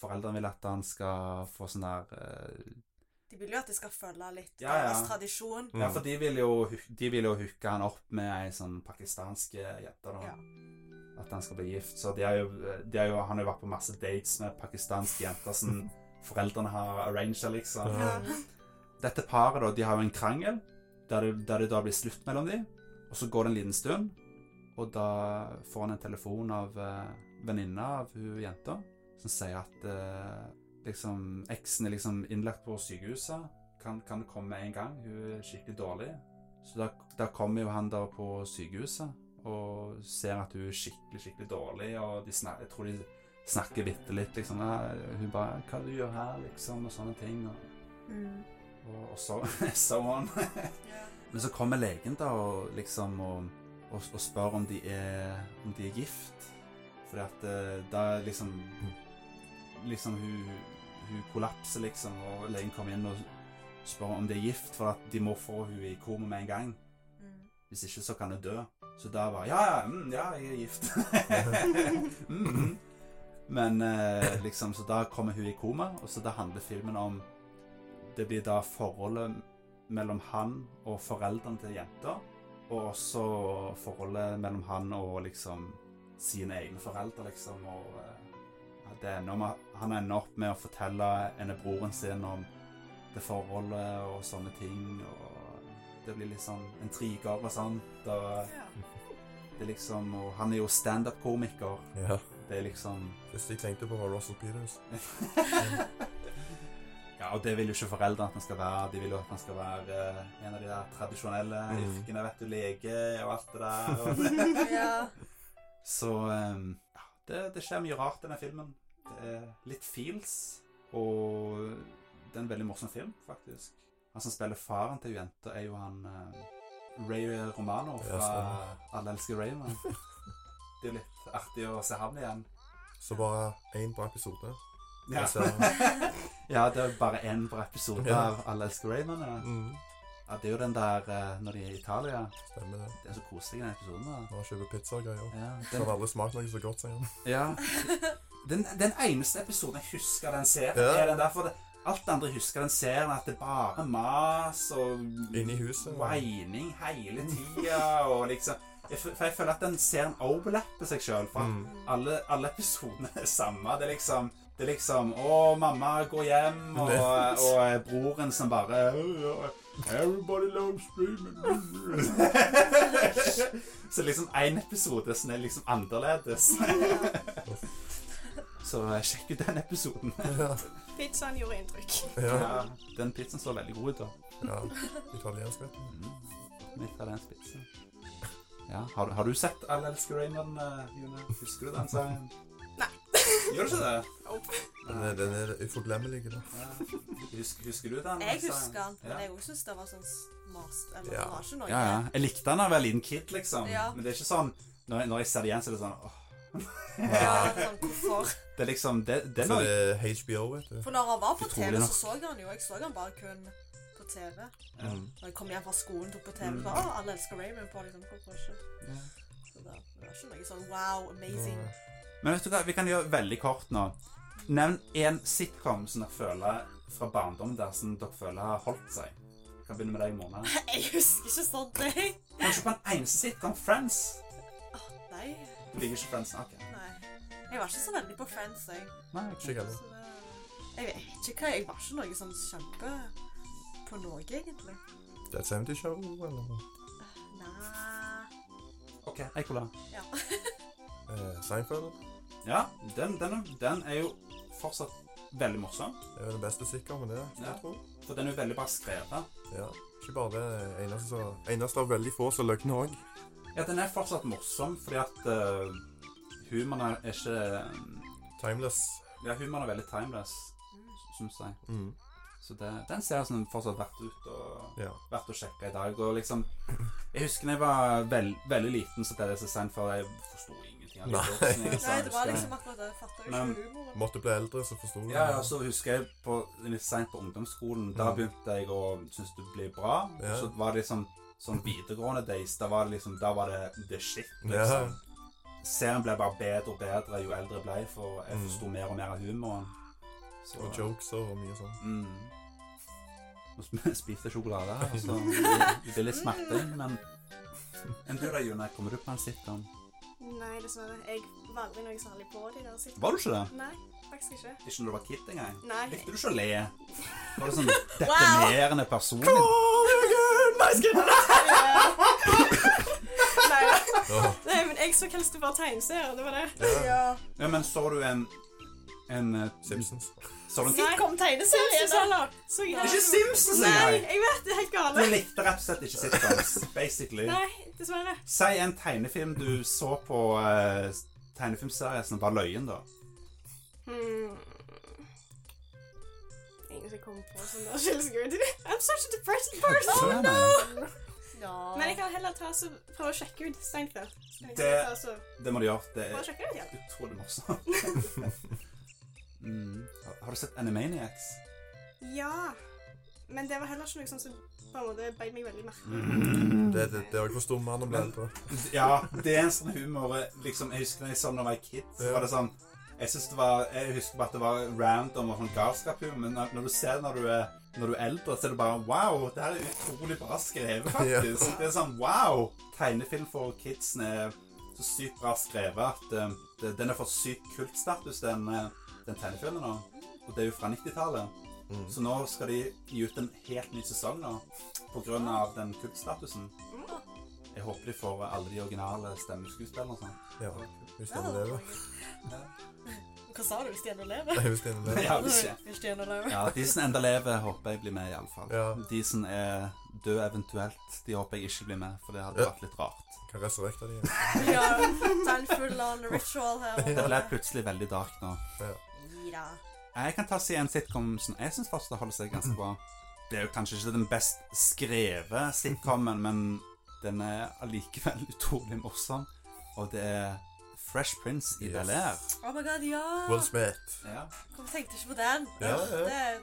Foreldrene vil at han skal få sånn der eh, De vil jo at de skal følge litt Ja, ja. deres tradisjon. Ja, Mm. for de vil jo, hu- de vil jo hooke han opp med ei sånn pakistansk jente, da. Ja. At han skal bli gift. Så de har jo, de har jo, han har jo vært på masse dates med pakistanske jenter som foreldrene har arranga, liksom. Ja. Dette paret, da, de har jo en krangel der det, der det da blir slutt mellom dem. Og så går det en liten stund, og da får han en telefon av eh, venninna av hun jenta, som sier at eh, liksom Eksen er liksom innlagt på sykehuset. Kan, kan komme med en gang. Hun er skikkelig dårlig. Så da, da kommer jo han da på sykehuset og ser at hun er skikkelig, skikkelig dårlig, og de snak, jeg tror de snakker bitte litt, liksom. «Ja, Hun bare 'Hva du gjør her?' liksom, og sånne ting. Og, og, og så so on. Ja. Men så kommer legen da og liksom og, og, og spør om de er, om de er gift. Fordi at eh, da liksom Liksom hun, hun kollapser, liksom, og legen kommer inn og spør om de er gift, for at de må få hun i koma med en gang. Mm. Hvis ikke, så kan jeg dø. Så da var Ja, ja, mm, ja jeg er gift. mm, mm. Men eh, liksom, så da kommer hun i koma, og så da handler filmen om Det blir da forholdet mellom han og foreldrene til jenta, og også forholdet mellom han og liksom sine egne foreldre, liksom, og eh, at det ender med, Han ender opp med å fortelle ene broren sin om det forholdet og sånne ting, og det blir litt sånn intriger og sånt, og Ja. det er liksom Og han er jo standup-komiker. Ja. Det er liksom Første jeg tenkte på, var Russell Peters. Ja, og det vil jo ikke foreldrene at man skal være. De vil jo at man skal være eh, en av de der tradisjonelle Mm. yrkene, vet du, lege og alt det der. Og... ja. Så eh, ja, det, det skjer mye rart i denne filmen. Det er litt feels, og det er en veldig morsom film, faktisk. Han som spiller faren til jenta, er jo han eh, Ray Romano Ja, fra stemmer. Alle elsker Raymond. Det er jo litt artig å se han igjen. Så bare én på episode. Ja. Så, Ja, det er bare én per episode Ja. av Alle elsker Raymond. Ja. mm, Ja, det er jo den der eh, når de er i Italia. stemmer det. Det er så koselig, den episoden. da. Bare kjøpe pizza og greier. Ja, Så har den, alle smakt noe så godt, sier han. ja. Den, den eneste episoden jeg husker den serien, Ja. er den der. For det, alt det andre jeg husker den serien, at det er bare mas og Inne i huset. whining hele tida og liksom jeg, f- For jeg føler at den serien overlapper seg sjøl. For at Mm. alle, alle episodene er samme. Det er liksom det er liksom Å, mamma går hjem, og, og eh, broren som bare Everybody loves streaming. Så liksom én episode som er liksom annerledes. så eh, sjekk ut den episoden. Ja, Pizzaen gjorde inntrykk. ja. Ja, den pizzaen så veldig god ut, da. ja. Italiensk, vet du. Mm. Italiensk pizza. Ja, har, du- har du sett All elsker Raymond, eh, June? Husker du den sangen? Nei. Gjør du ikke det? Nope. Den er, den er uforglemmelig, da. Ja. Husker, husker du den? Jeg sangen? husker den, men Ja. jeg også synes det var sånn mas... Eller sånn, Ja. det var ikke noe. ja, ja. Jeg likte den da jeg var liten kid, liksom. Ja. Men det er ikke sånn når jeg, når jeg ser det igjen, så er det sånn åh. Ja, sånn, hvorfor? Det er liksom Det, det er Så noe det er HBO, vet du. For når han var på Utrolig TV, nok. så så jeg han jo. Jeg så han bare kun på TV. Ja. Når jeg kom hjem fra skolen, tok på TV, Mm. så «Å, alle elsker Raymond på, liksom. Hvorfor ikke? Så det, det var ikke noe sånn wow, amazing. Men vet du hva, vi kan gjøre veldig kort nå. Nevn én sitcom som dere føler fra barndommen der som dere føler har holdt seg. Jeg kan begynne med deg, Mona. Jeg husker ikke sånt, jeg. Kanskje på en eneste sitcom. Friends. Nei, Du liker ikke Friends? Ok. nei. Jeg var ikke så veldig på Friends, jeg. Nei, Ikke heller. Så det, jeg vet ikke hva, jeg var ikke noe sånn kjempe på noe, egentlig. Det er et 70 show, eller Nei. OK, Eikola. eh, Seinfeld. Ja, den, den, er- den er jo fortsatt veldig morsom. Det er jo den beste sitcomen, det. skal Ja. jeg tro. For den er jo veldig bra skrevet. Ja. Ikke bare det. Eneste, som- eneste av veldig få som løgner òg. Ja, den er fortsatt morsom fordi at uh, humoren er ikke Timeless. Ja, humoren er veldig timeless, syns jeg. Mm. Så det, den ser jeg som fortsatt verdt ut og Ja. vært og sjekka i dag. Og liksom Jeg husker da jeg var vel, veldig liten, så ble det så sent for jeg forsto ingenting. av altså. de Nei. jokesene jeg sa, Nei, det var husker jeg. liksom akkurat det. Jeg fatter jo Men- ikke humoren. Måtte bli eldre, så forsto du Ja, det. ja, så husker jeg på, litt seint på ungdomsskolen. Da Mm. begynte jeg å synes det ble bra. Ja. Så var det liksom sånn videregående days. Da var det liksom Da var det the shit, Ja. liksom. Serien ble bare bedre og bedre jo eldre jeg ble, for jeg Mm. forsto mer og mer av humoren. Så- Og jokes og mye sånn. Mm. Nå sm- spiste jeg sjokolade her, så det blir litt smerting, men Enn du da, June? Kommer du på en sitcom? Nei, dessverre. Jeg var aldri noe særlig på de der sitt. Var du ikke det? Nei, faktisk ikke. Ikke når du var kid engang? Nei. Likte du ikke å le? Var du sånn deprimerende person? Nei, Åh, nei, men jeg så helst bare tegneserier. Det var det. ja. Ja, men så du en en eh, Simpsons. Så du en Nei, Sitcom tegneserie, Simpsons da! heller. Så jeg Ikke Simpsons Nei, engang! jeg vet det er helt Du gale. likte rett og slett ikke sitcoms, basically. Nei, dessverre. Si en tegnefilm du så på eh, tegnefilmserien som var løyen, da. Hmm. Ingen som kommer på sånn der feels good. I'm such a depressed person. Oh, no! Ja. Men jeg kan heller ta og så prøve å sjekke ut Steinfeld. Skal vi Det- Eh. ta og så- Det må du gjøre. Det Prøve er å sjekke det ut igjen. utrolig morsomt. mm. Har- Har du sett Animaniacs? Ja. Men det var heller ikke noe sånn som på en måte beit meg veldig i merken. Mhm. Det, det, det er jo ikke forstå mer når man blir eldre. Ja, det er en sånn humor eh, liksom, Jeg husker da jeg så den da jeg var kid, så Ja. var det sånn Jeg, synes det var, jeg husker bare at det var random og sånn galskaphumor, men når, når du ser det når du er når du er eldre, så er det bare Wow! Det her er utrolig bra skrevet, faktisk. Det er sånn wow! Tegnefilm for kidsen er så sykt bra skrevet at eh, det, den har fått sykt kultstatus, den, eh, den tegnefilmen nå. Og det er jo fra 90-tallet. Mm. Så nå skal de gi ut en helt ny sesong nå, på grunn av den kultstatusen. Jeg håper de får alle de originale stemmeskuespillene og sånn. Ja, hvis den lever. Hva sa du? Stjerne lever? Nei, hvis den lever. Ja, hvis ikke. Stjerne lever. Ja, de som enda lever, håper jeg blir med, iallfall. Ja. De som er døde eventuelt, de håper jeg ikke blir med, for det hadde Ja. vært litt rart. Kan resurrekte de. Ja, ta en full on ritual her. Det ble plutselig veldig dark nå. Ida. Jeg kan ta si en sitcom som jeg syns fortsatt holder seg ganske bra. Det er jo kanskje ikke den best skrevet sitcomen, men den er allikevel utrolig morsom, og det er Fresh Prince i Yes. Bel-Air. Oh my god, ja! Will Smith. Ja. Hvorfor tenkte jeg ikke på den? Ja, ja. Det,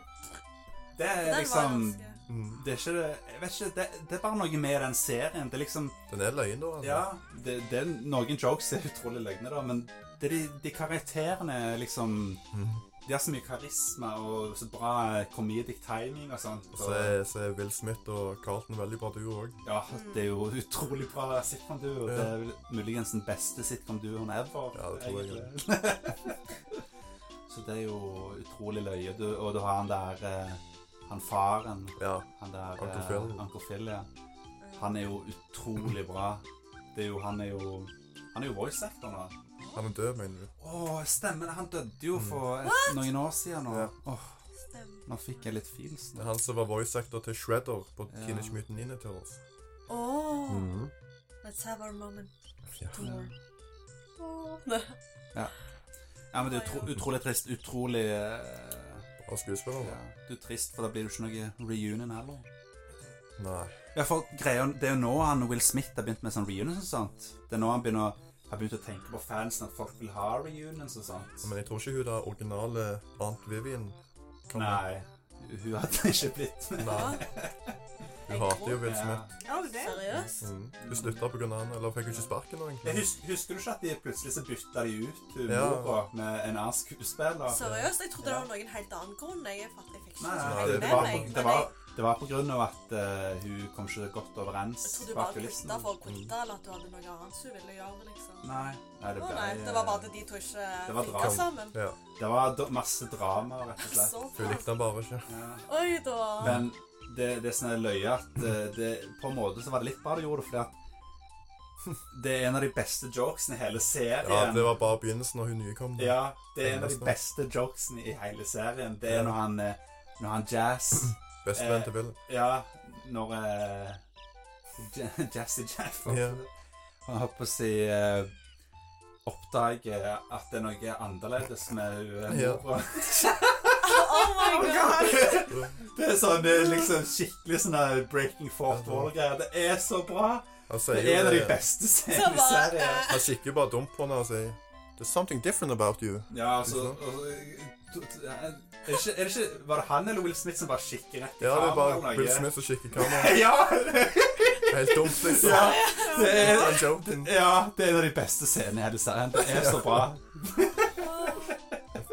Det den er var liksom ganske... Mm. Det er ikke det Jeg vet ikke, det, det er bare noe med den serien. Det er liksom Den er løgn, da. altså. Ja, det, det er noen jokes er utrolig løgne, da, men det er de, de karakterene er liksom Mm. De har så mye karisma og så bra comedic timing og sånt. Og, Så er, så er Will Smith og Carlton veldig bra duo òg. ja, det er jo utrolig bra sitcom-duo. Det er vel muligens den beste sitcom-duoen ever. Ja, det tror jeg egentlig. så det er jo utrolig løye. Du, og du har han der eh, Han faren Ja. Han der Uncle eh, Phil. Uncle Phil, ja. Han er jo utrolig bra. Det er jo, han er jo Han er jo voice actor nå. Han er død, mener du? Å, stemmer det. Han døde jo Mm. for et, noen år siden. Og, åh, Stemmer. nå fikk jeg litt feels. Det er han som var voice actor til Shredder på Ja. Teenage Mutant Ninja Turtles. Åh, Mm. Let's have our moment. Ja. Åh. Nei. Ja, men det er utro, utrolig trist. Utrolig eh, Og skuespiller, da? ja. Du er trist, for da blir det jo ikke noe reunion heller. Nei. Ja, for greia, Det er jo nå han Will Smith har begynt med sånn reunions og sånt. Det er nå han begynner å- har begynt å tenke på fansen, at folk vil ha reunions og sånt. Men jeg tror ikke hun der originale Aunt Vivian kommer. Nei, hun hadde ikke blitt med. Nei. Hun hater jo Will Ja. Smith. Ja, det er det. Seriøst? Mm. Hun slutta pga. han, eller fikk hun ikke sparken nå, Jeg egentlig? hus husker du ikke at de plutselig så bytta de ut Ja. mora med en annen skuespiller? Seriøst? Jeg trodde det Ja. var noen helt annen grunn. Jeg, fatt, jeg fikk ikke Nei, så nei, mye det, det det, med var, meg, det, men var, jeg- det var på grunn av at eh, hun kom ikke godt overens Jeg trodde du bak bare kulissen. kutta for å kutte, eller at du hadde noe annet du ville gjøre. liksom. Nei, nei, det Å ble nei, det var bare at de to ikke Det var funka drama. sammen. Ja. det var dr- masse drama, rett og slett. Hun Såpass. likte han bare ikke. Ja. Oi da. Men det, det er sånn jeg løye at eh, det, på en måte så var det litt bra du gjorde det, fordi at det er en av de beste jokesene i hele serien. Ja, Det var bare begynnelsen når hun nye kom. da. Ja, det er en av de beste jokesene i hele serien. Det er når han, eh, når han Jazz Bestevenn Eh, til Bill. Ja, når eh, J- Jazzy Jeff holdt Ja. Han holdt på å si eh, Oppdager at det er noe annerledes med hun Ja. eh, mora. Oh my god. Det er sånn det er liksom skikkelig sånn der breaking fourth wall-greier. Det er så bra! Han Det sier er en jo av de det. beste Så scenene i bare, serien. Han kikker jo bare dumt på henne og sier There's something different about you. Ja, altså og- to- to- er det, ikke, er det ikke Var det han eller Will Smith som bare kikker rett i Ja, det er kamera? bare eller Bill noe? Smith som kikker i kamera. Ja! sånn. Helt dumt, liksom. Ja, det er, Han joken. ja, det er en av de beste scenene i hele serien. Det er så bra.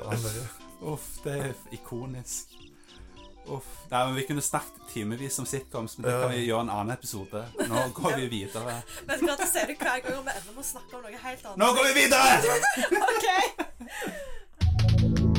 Han løy. Uff, det er ikonisk. Uff. Nei, men Vi kunne snakket timevis om sitcoms, men det Ja. kan vi gjøre en annen episode. Nå går vi videre. Vet du hva, det ser du hver gang vi ender med å snakke om noe helt annet. Nå går vi videre! OK!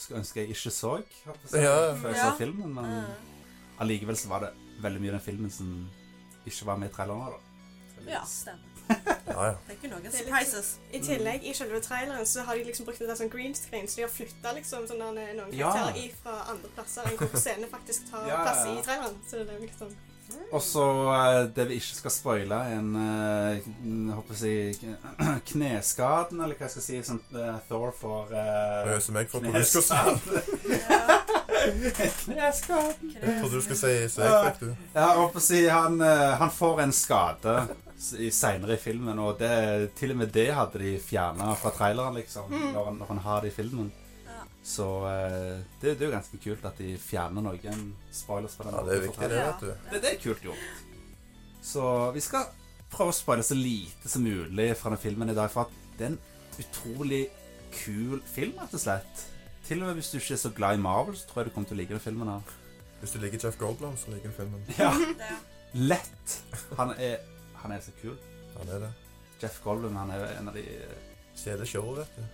skulle ønske jeg ikke så håper jeg, Ja. før jeg Ja. så filmen, men Mm. allikevel så var det veldig mye i den filmen som ikke var med i traileren. Da. Ja, stemmer. Ja, ja. Det er ikke noen er litt- surprises. I Mm. tillegg, i selve traileren så har de liksom brukt en del sånn green screen, så de har flytta liksom sånn der noen Ja. karakterer ifra andre plasser enn hvor scenene faktisk tar Ja, ja, plass ja. i traileren. Så det er liksom Og så eh, det vi ikke skal spoile, er en eh, jeg håper jeg å si kneskaden, eller hva jeg skal si, som eh, Thor får eh, Øser meg for på huskosten. Kneskade. Kneskaden. Jeg trodde du skulle si Segfekt, du. Ja, jeg håper å si han, eh, han får en skade s- i- senere i filmen, og det, til og med det hadde de fjerna fra traileren, liksom, når, han, når han har det i filmen. Ja. Så eh, det, det er jo ganske kult at de fjerner noen spoilers på den Ja, det er viktig, det, vet du. Det, det er kult gjort. Så vi skal prøve å spoile så lite som mulig fra den filmen i dag, for at det er en utrolig kul film, rett og slett. Til og med hvis du ikke er så glad i Marvel, så tror jeg du kommer til å like den filmen her. Hvis du liker Jeff Goldblom, så liker du filmen. Ja, Det. lett. Han er, han er så kul. Han er det. Jeff Goldblum, han er en av de Kjedelig show, vet du.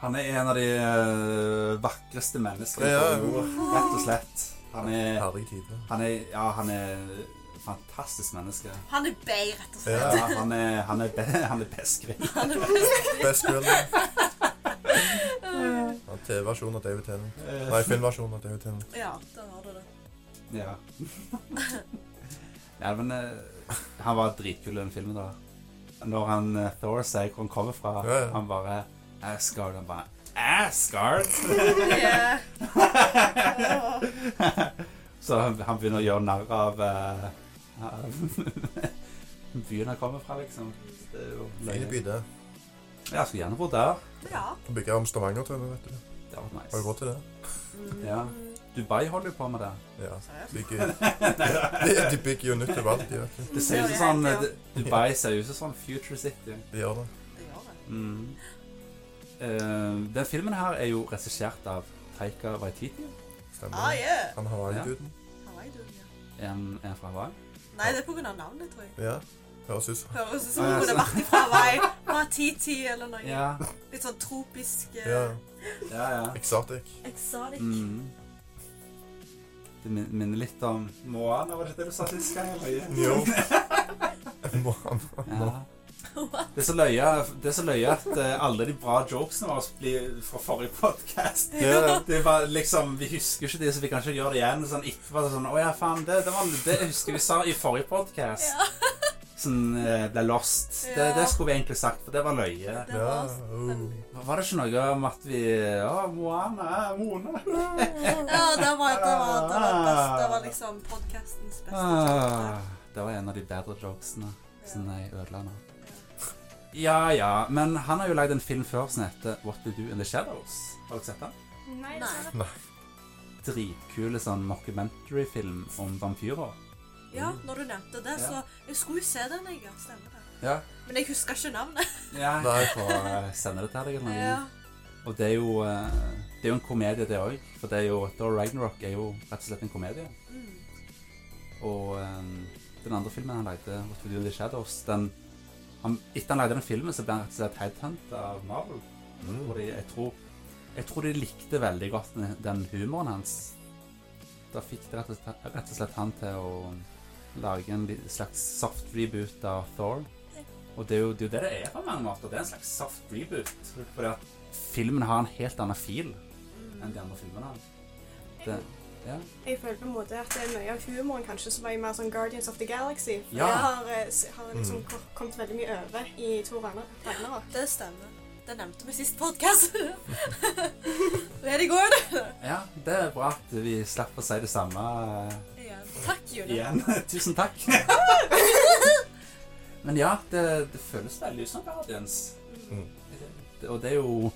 Han er en av de øh, vakreste menneskene Ja, ja. på jord, rett og slett. Han er, Herlig type. han er Ja, han er et fantastisk menneske. Han er bay, rett og slett. Ja, Ja. han er, han er, be, han er beskrevet. Best girl. Ja, TV-versjon av David Tennant. Nei, filmversjon av David Tennant. Ja, da har du det. Ja. ja, men øh, han var dritkul i den filmen, da. Når han øh, Thor sier hvor han kommer fra, Ja, ja. han bare Asgard. Han bare Asgard! Yeah. Så han, han begynner å gjøre narr av eh, av byen han kommer fra, liksom. Så Det er jo Fin løye. by, det. Ja, jeg skulle gjerne bodd der. Ja. Kan bygge om Stavanger-tømmer, vet du. Det hadde vært Har du nice. råd til det? Mm. Ja. Dubai holder jo på med det. Ja. Seriøst? Bygger... De- De bygger jo nytt til alt, de, vet du. Det ser ut Mm, Det er som sånn helt, ja. det- Dubai ser ut som sånn Future City. De gjør det. Det gjør det. Mm. Eh, den filmen her er jo regissert av Taika Waititi. Stemmer. Ah, yeah. Han Hawaii-duden. Hawaii, du, ja. En, en fra Hawaii. Nei, det er på grunn av navnet, tror jeg. Ja. Høres ut som Høres ut som Ah, hun ja, kunne så- vært ifra Hawaii. Matiti eller noe. Ja, Litt sånn tropisk eh, ja. ja, ja. Exotic. Exotic. Mm. Det min- minner litt om Moana, var det det du sa sist gang? eller? Jo. Må han Ja. Det er så løye, det er så løye at eh, alle de bra jokesene våre blir fra forrige podkast. Ja. Det var liksom, Vi husker ikke de, så vi kan ikke gjøre det igjen. Sånn etterpå så sånn, Å ja, faen, det, det, var, det husker vi sa i forrige podkast. Sånn eh, ble lost. Det, Ja. det skulle vi egentlig sagt, for det var løye. Det var Ja. oss. Uh. Var det ikke noe om at vi Å, Moana, Mona Ja, det var, det var, det var, best. Det var liksom podkastens beste. ah, Det var en av de bedre jokesene. Sånn jeg ødela nå. Ja ja, men han har jo lagd en film før som heter What We Do In The Shadows. Har dere sett den? Nei, Nei. dessverre. Dritkule sånn mockumentary-film om vampyrer. Ja, når du nevnte det, Ja. så Jeg skulle jo se den, jeg. Ja, stemmer det. Ja. Men jeg husker ikke navnet. ja. Nei. Jeg får eh, sende det til deg eller noe. Og det er jo eh, Det er jo en komedie, det òg. For det er jo Thor Ragnarok er jo rett og slett en komedie. Mm. Og eh, den andre filmen han lagde, What We Do In The Shadows, den han, Etter han lagde den filmen, så ble han rett og slett headhunta av Marvel. Mm. Fordi jeg tror Jeg tror de likte veldig godt den- den humoren hans. Da fikk det rett og slett, rett og slett han til å lage en li- slags soft reboot av Thor. Og det er jo det, er jo det, det er på mange måter. Det er en slags soft reboot. Fordi at filmen har en helt annen fil enn de andre filmene. Det, ja. Jeg føler på en måte at det er mye av humoren kanskje som var i mer sånn Guardians of the Galaxy. For Ja. Det har, eh, s- har liksom Mm. ko- kommet veldig mye over i Tor Ragnar- Ragnarok. Det stemmer. Det nevnte vi sist podkast. Very good. ja, det er bra at vi slapp å si det samme eh, Igjen. Takk, June. igjen. Tusen takk. Men ja, det, det føles veldig ut som Guardians. Mm. Det- Og det er jo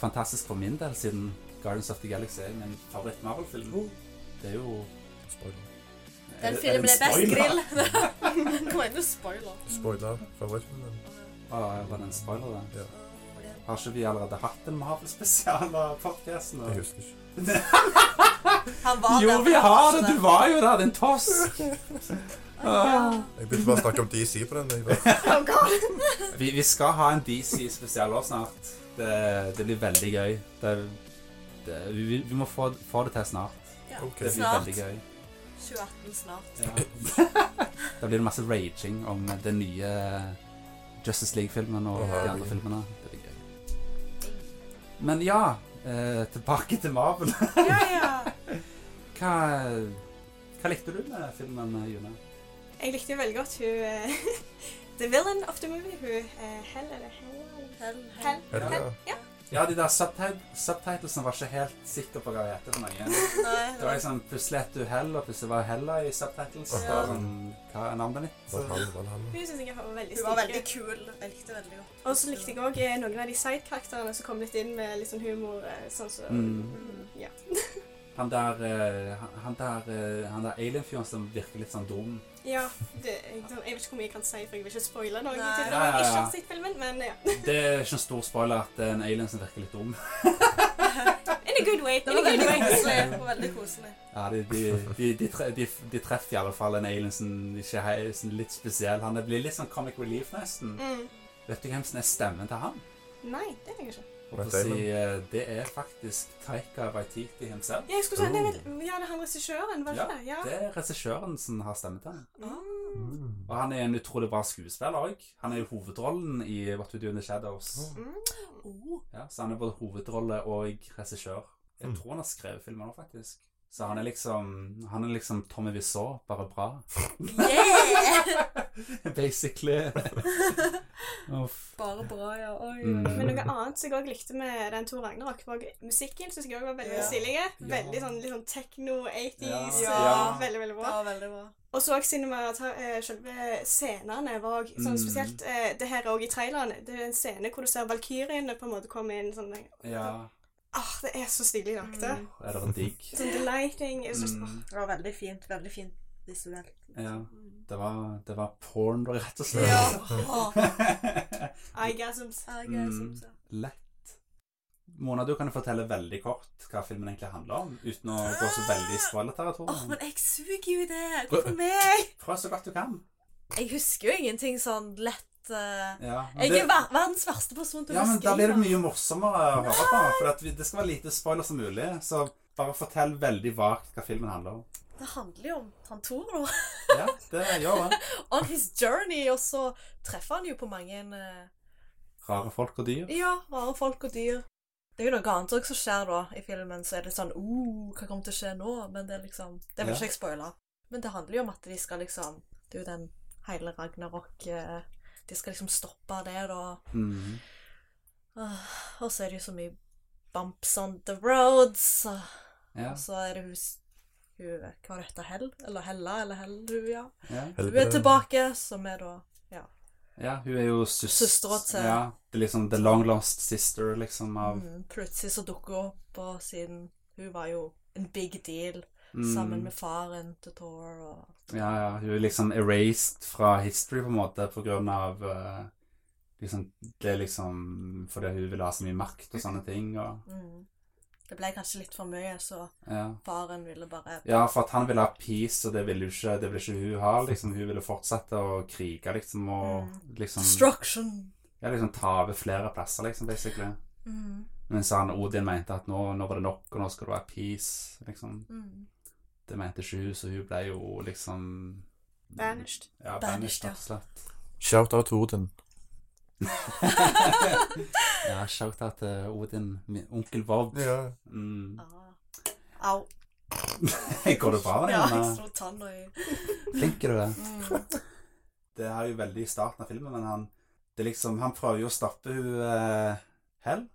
fantastisk for min del, siden Guardians of the Galaxy er min favoritt Marvel-film. Det er jo Spoiler. er det- Den Mm. filmen det er best en grill. spoiler? Kom igjen, du spoiler. Spoiler favorittfilmen. Å, var det en spoiler, da? Ja. Har ikke vi allerede hatt en Marvel-spesial av podcasten? Jeg og- husker ikke. Han var Jo, der vi for har første. det! Du var jo der, din toss! Ja. Jeg begynte bare å snakke om DC på den. Jeg bare, Oh, Vi, vi skal ha en DC-spesial også snart. Det, det blir veldig gøy. Det, det, vi, vi må få, få det til snart. Ja. Ok. Det blir Snart. veldig gøy. 2018 snart. da blir det masse raging om den nye Justice League-filmen og de andre filmene. Det blir gøy. Men ja, eh, tilbake til Marvel. Ja, ja. Hva, hva likte du med filmen, June? Jeg likte jo veldig godt hun eh, The villain of the movie. Hun eh, Hell eller Hell? Hell, Hell. er det det? Ja. Ja, de der subtit- subtitlesene var ikke helt sikre på hva de heter. for noe. Nei, Det var liksom plutselig et uhell, og plutselig var Hella i subtitles. Det var Sånn, hva er navnet mitt? Var det han? Var det han? Hun synes jeg var veldig Hun var veldig stilig. kul. Jeg likte veldig godt. Og så likte jeg òg noen av de sidekarakterene som kom litt inn med litt sånn humor. eh, Sånn som Mm. Ja. Han der, eh, han- han der, eh, han der alien-fyren som virker litt sånn dum. ja det, jeg, jeg vet ikke hvor mye jeg kan si, for jeg vil ikke spoile noe. Nei. til Ja, dere ja, ikke ja. har sett filmen, men ja. Det er ikke en stor spoiler at det er en alien som virker litt dum. In a good way. Det In a var good veldig way. koselig. Det var veldig koselig. Ja, de, de, de, de, tre, de, de treffer i alle fall en alien som ikke er som litt spesiell. Han blir litt sånn comic relief, nesten. Mm. Vet du hvem som er stemmen til han? Nei, det er jeg ikke. Og for å Matt Damon. si, eh, det er faktisk Taika Waititi himself. Ja, jeg skulle si, det er vel, ja, det er han regissøren, var det ikke det? Ja. Det er regissøren som har stemmen til han. Mm. Og han er en utrolig bra skuespiller òg. Han er jo hovedrollen i What We Do in the Shadows. Mm. Oh. Ja, så han er både hovedrolle og regissør. Jeg Mm. tror han har skrevet filmen òg, faktisk. Så han er liksom, han er liksom Tommy Wiseau, bare bra. Yeah! Basically. Uff. Bare bra, ja. Oi, Mm. Men noe annet som jeg også likte med den Tor Ragnarok, var musikken. Synes jeg også var veldig Ja. stilig. Ja. Veldig sånn, litt sånn techno 80s. Ja. Ja. Veldig, veldig Det bra. var veldig bra. Og så også cinema, ta- eh, selve scenene var også sånn Mm. spesielt eh, Det her er også i traileren. Det er en scene hvor du ser valkyriene på en måte komme inn sånn Ja. Åh, det er så stilig lagt, det. Mm. Er det var digg. Sånn the lighting er så Mm. Det var veldig fint. Veldig fint visuelt. Ja. Det var, det var porn, rett og slett. Ja. Åh, I guess I'm jeg er Mm. sånn, så. Lett. Mona, du kan jo fortelle veldig kort hva filmen egentlig handler om, uten å gå så veldig i Åh, spoilerterritorium. men jeg suger jo i det! Hvorfor meg? Prøv så godt du kan. Jeg husker jo ingenting sånn lett eh, Ja, men Jeg det- er ver verdens verste person til å Ja, men huske. da blir det ting, da. mye morsommere å høre på. For at vi, det skal være lite spoiler som mulig. Så bare fortell veldig vagt hva filmen handler om. Det handler jo om han Toro Ja, det gjør det. on his journey, og så treffer han jo på mange eh, Rare folk og dyr. Ja, rare folk og dyr. Det er jo noe annet også som skjer da i filmen, så er det sånn uh, hva kommer til å skje nå? Men det er liksom Det vil Ja. ikke jeg spoile. Men det handler jo om at de skal liksom Det er jo den hele Ragnarok eh, De skal liksom stoppe det, da. Mhm. Åh, Og så er det jo så mye bumps on the roads. Ja, Og så er det hun s- Hun Hva var dette? Hell? Eller Hella? Eller Hell, hun, ja. ja. Hun er tilbake, som er da ja, hun er jo søs Søstera til- Ja, det er liksom the long lost sister, liksom, av mm, Plutselig så dukker hun opp, og siden Hun var jo en big deal Mm. sammen med faren til Thor og Ja, ja. Hun er liksom erased fra history, på en måte, på grunn av eh, liksom, Det er liksom fordi hun vil ha så mye makt og sånne ting. Og, mm. Det ble kanskje litt for mye, så ja. faren ville bare Ja, for at han ville ha peace, og det ville jo ikke, det ville ikke hun ha. liksom. Hun ville fortsette å krige, liksom, og liksom, Destruction! ja, liksom ta over flere plasser, liksom, basically. Mm. Mens han Odin mente at nå, nå var det nok, og nå skal det være peace, liksom. Mm. Det mente ikke hun, så hun ble jo liksom Banished. Ja, Banished, banished, ja. rett og slett. Shout-out Odin. Ja, shout-out til Odin, min onkel Bob. Ja. Mm. Ah. Au. Går det bra med Ja, deg? jeg Anna? slo tanna i Flink er du. det? mm. Det er jo veldig i starten av filmen, men han, det er liksom, han prøver jo å stoppe hun eh, Hell,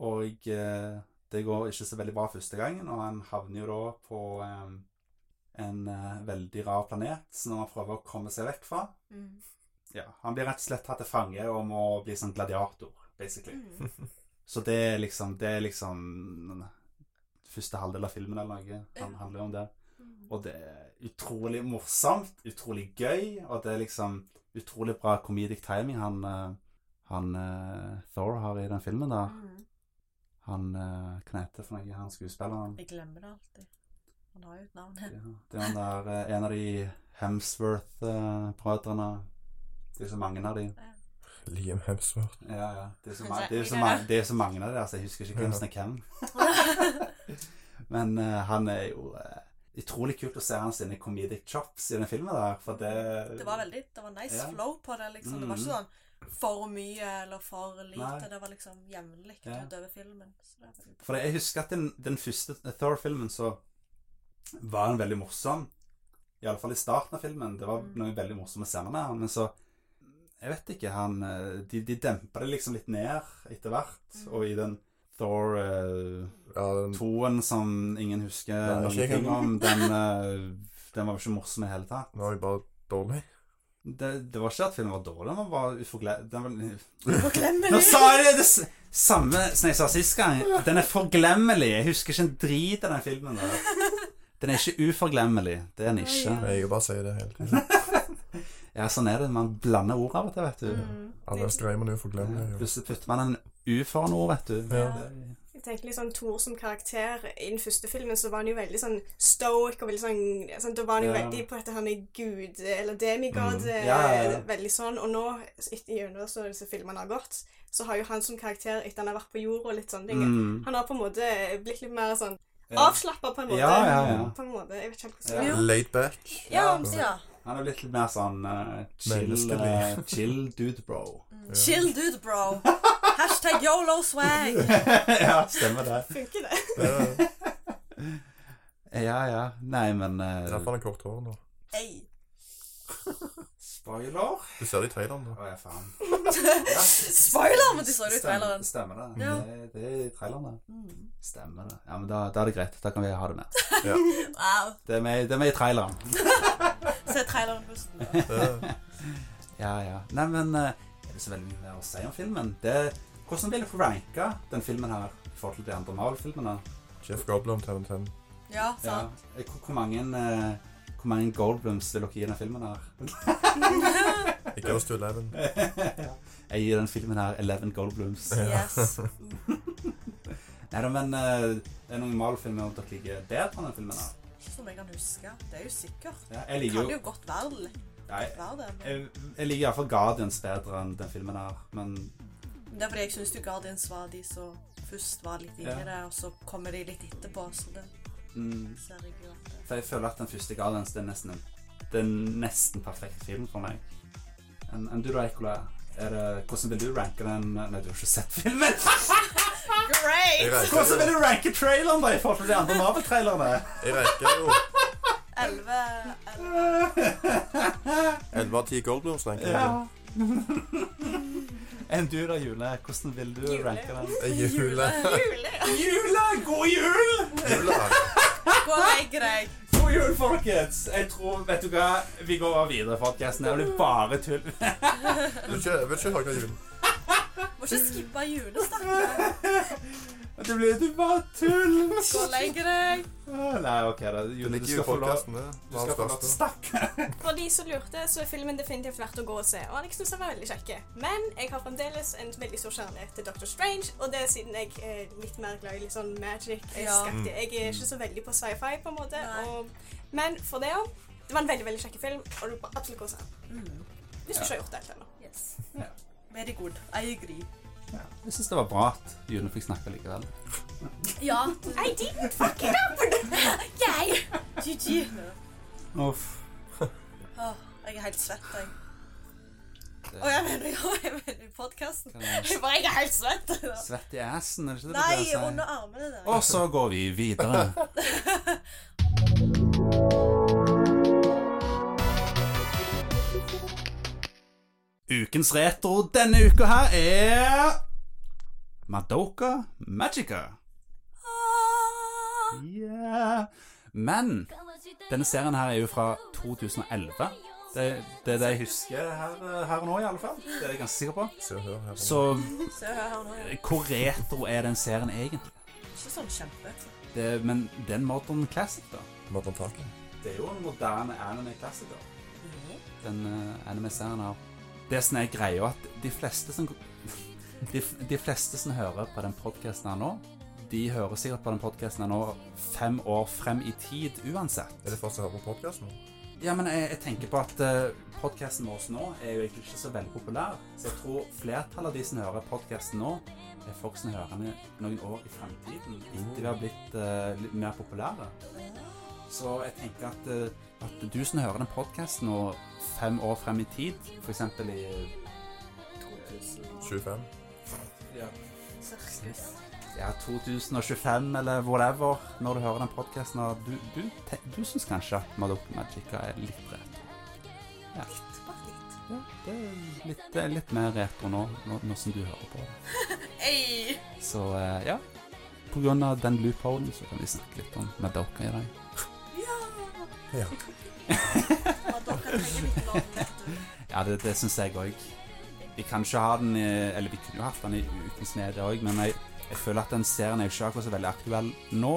og eh, det går ikke så veldig bra første gangen, og han havner jo da på eh, en eh, veldig rar planet som han prøver å komme seg vekk fra. Mm. Ja, han blir rett og slett tatt til fange og må bli sånn gladiator, basically. Mm. Så det er liksom, det er liksom første halvdel av filmen eller noe, han Ja. handler jo om det. Mm. Og det er utrolig morsomt, utrolig gøy, og det er liksom utrolig bra comedic timing han, eh, han eh, Thor har i den filmen da. Mm. Han, eh, hva heter det for noe, han skuespilleren? Jeg glemmer det alltid. Han har jo et navn. Ja, det er han der, eh, en av de Hemsworth-prødrene. Det er så mange av de. Liam Hemsworth. Ja, ja. Det er så, Men ma så er det er vi så, der, ma da. det er så mange av de, altså. Jeg husker ikke hvem Ja. som er hvem. Men eh, han er jo eh, utrolig kult å se hans sine comedic chops i den filmen der, for det... Det var veldig Det var nice Ja. Mm. flow på det, liksom. Det var ikke sånn for mye eller for lite. Nei. Det var liksom jevnlig Ja. utover filmen. Så det var veldig bra. For jeg husker at den, den første Thor-filmen så var han veldig morsom. I alle fall i starten av filmen. Det var Mm. noen veldig morsomme scener med han, men så Jeg vet ikke, han eh, De, de dempa det liksom litt ned etter hvert, Mm. og i den Thor eh, Ja, den, toen som ingen husker Nei, noen ikke jeg ting heller. om, den, eh, den var jo ikke morsom i det hele tatt. den var jo bare dårlig. Det, det var ikke at filmen var dårlig, den var bare uforglemmelig. Den var- Nå Forglemmelig! sa jeg det, det s- samme som jeg sa sist gang. Den er forglemmelig. Jeg husker ikke en drit av den filmen. Der. Den er ikke uforglemmelig. Det er den ikke. Nei, Jeg bare sier det hele tiden. Ja, sånn er det. Man blander ord av og til, vet du. Mm. Ellers greier man jo å forglemme det. jo. Plutselig putter man en U foran ord, vet du. Ja. Det- Jeg tenker litt sånn Thor som karakter. I den første filmen så var han jo veldig sånn stoic. og veldig sånn, sånn Da var han jo Ja. veldig på at han er gud eller demigod. Mm. eh, Ja, ja, ja. Veldig sånn. Og nå, etter gjennom så disse filmene har gått, så har jo han som karakter, etter han har vært på jorda og litt sånne ting Mm. Han har på en måte blitt litt mer sånn Ja. avslappa, på en måte. Ja, ja, ja. På en måte. Jeg vet ikke helt Ja. hvordan det er. Laid back. Ja. Ja. Han er blitt litt mer sånn eh, chill, Menneskelig. eh, chill dude bro. Mm. Chill dude, bro. Hashtag yolo swag. ja, stemmer det. Funker det? Det er Ja, ja. Nei, men eh, derfor han har kort hår nå. Hey. Spoiler? Du ser det i traileren nå. Å ja, faen. Spoiler, men de så det i traileren. Stemmer det. Ja. Det, det er i traileren, det. Mm. Stemmer det. Ja, men da, da er det greit. Da kan vi ha det med. Wow. Det er med, det er med i traileren. Se traileren først. Det er- Ja, ja. Nei, men eh, er det så veldig mye mer å si om filmen? Det, hvordan vil du ranke den filmen her i forhold til de andre Marvel-filmene? Jeff Goldblum, Tarantino. Ja, sant. Eh, Hvor, hvor mange eh, hvor mange Goldblums vil dere gi denne filmen her? It goes to 11. Jeg gir den filmen her 11 Goldblums. Yes. Nei da, men eh, det er noen Marvel-filmer dere liker bedre enn den filmen her. Ikke som jeg kan huske. Det er jo sikkert. Ja, jeg Det liker kan jo jo godt være det. Nei, Være det. men- jeg, jeg liker iallfall Guardians bedre enn den filmen her, men Det er fordi jeg syns Guardians var de som først var litt inni Ja. det, og så kommer de litt etterpå, så det mm, ser jeg jo at det For jeg føler at den første Guardians det er nesten en det er en nesten perfekt film for meg. Enn enn du da, Ekola? Er det, hvordan vil du ranke den Nei, du har ikke sett filmen! Jeg Great! Hvordan ranker, vil du ranke traileren da i forhold til de andre Marvel-trailerne? jeg ranker jo 11 11. 11 av 10 Goldblooms. ranker jeg. Ja. Enn du da, Jule? Hvordan vil du Jule. ranke den? Eh, Jule. Jule! Jule! God jul! Jule. Gå og legg deg. God jul, folkens! Jeg tror, vet du hva, vi går videre, folkens. Det blir bare tull. Vil ikke, vil ikke høre jul. Må ikke skippe julestakken. Det blir det bare tull! Gå og legg deg. Ah, Nei, OK, da. Du Jule, du liker jo eh. skal få lov. podkasten. Du skal få lov. Stakk! For de som lurte, så er filmen definitivt verdt å gå og se. Og jeg synes den var veldig kjekke. Men jeg har fremdeles en veldig stor kjærlighet til Dr. Strange, og det er siden jeg er litt mer glad i litt sånn Ja. magic-skaktig. Jeg er ikke så veldig på sci-fi, på en måte. Nei. Og, men for det òg. Det var en veldig veldig kjekk film, og du bør absolutt gå og se den. Mm. Hvis du ikke har gjort det helt ennå. Yes. Ja. Very good. I agree. Ja, jeg syns det var bra at June fikk snakke likevel. Ja. I didn't fuck it up! Jeg! GG. Uff. Åh, jeg er helt svett, jeg. Det- Å, jeg mener jeg mener i podkasten. Jeg bare, jeg er helt svett. Svett i assen, er det ikke det Nei, pleier å si? under armene der. Og så går vi videre. Ukens retro denne uka her er Madoka Magica. Ah. Yeah. Men denne serien her er jo fra 2011. Det det er det jeg husker her, eh, her og nå, i alle fall. Det er jeg ganske sikker på. Se og hør her. Så Se her nå. ja. Hvor retro er den serien egentlig? Ikke sånn kjempe. Det, men det er en modern classic, da. Modern Talking. Det er jo en moderne anime classic, da. Den eh, anime-serien her. Det som er greia, at de fleste som De, f- de fleste som hører på den podkasten her nå, de hører sikkert på den podkasten her nå fem år frem i tid uansett. Er det folk som hører på podkasten? Ja, men jeg, jeg tenker på at uh, podkasten vår nå er jo egentlig ikke så veldig populær. Så jeg tror flertallet av de som hører podkasten nå, er folk som hører den i noen år i fremtiden. Etter vi har blitt eh, litt mer populære. Så jeg tenker at, eh, at du som hører den podkasten nå fem år frem i tid, f.eks. i Mhm. 25. ja. Sirkus. ja, 2025 eller whatever, når du hører den podkasten, du, du, te- du syns kanskje at Madoka Magica er litt rett. Ja. Bare litt. Ja, det er litt, det er litt mer retro nå, nå, nå som du hører på. Ei! Så eh, ja, på grunn av den loopholen så kan vi snakke litt om Madoka i dag. Ja! Ja. Og dere trenger litt vann, vet du. Ja, det, det syns jeg òg. Vi kan ikke ha den i Eller vi kunne jo hatt den i Ukens Media òg, men jeg, jeg føler at den serien er jo ikke akkurat så veldig aktuell nå.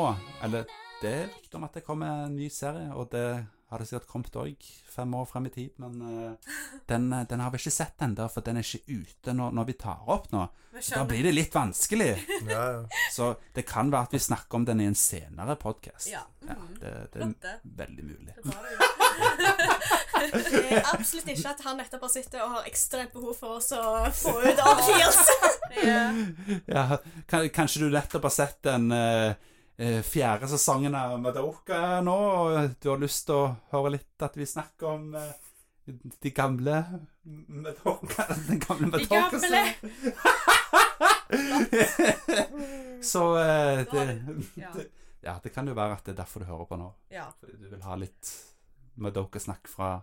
Eller det er rykter om at det kommer en ny serie, og det har det sikkert kommet òg fem år frem i tid, men eh, den, den har vi ikke sett ennå, for den er ikke ute når, når vi tar opp nå. Vi Da skjønner. blir det litt vanskelig. Ja, ja. Så det kan være at vi snakker om den i en senere podkast. Ja. Mhm. det, det er Flott, det. veldig mulig. Det var det jo. Eh, Absolutt ikke at han nettopp har sittet og har ekstremt behov for oss å få ut av Kias. Ja. Ja, kan, kanskje du nettopp har sett den eh, eh, fjerde sesongen av Madoka nå, og du har lyst til å høre litt at vi snakker om eh, de gamle Madoka Den gamle De gamle. Madoka-serien. Så eh, det, Ja. det Ja, det kan jo være at det er derfor du hører på nå. ja. Fordi du vil ha litt Madoka-snakk fra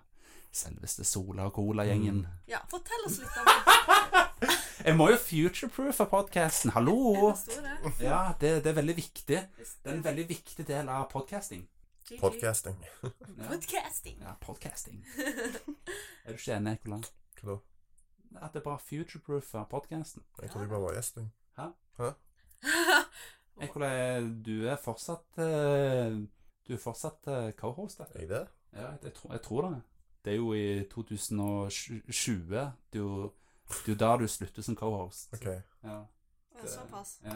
selveste Sola og Cola-gjengen. ja. Fortell oss litt om det. Jeg må jo future-proofe podcasten, hallo! Forstår det? Ja, det, det er veldig viktig. Hvis Det er en det- veldig viktig del av podcasting. GG. Podcasting. Ja, Podcasting. ja podcasting. Er du ikke enig, Ekola? Hva da? At det er bra future-proofe podcasten? Jeg trodde jeg bare var gjesting. Ekola, du er fortsatt eh, Du er fortsatt eh, co-host, Er da. jeg det? Ja, jeg, tror- jeg tror det. Det er jo i 2020. Det er jo det er jo da du slutter som co-host. OK. Ja. Såpass. Ja.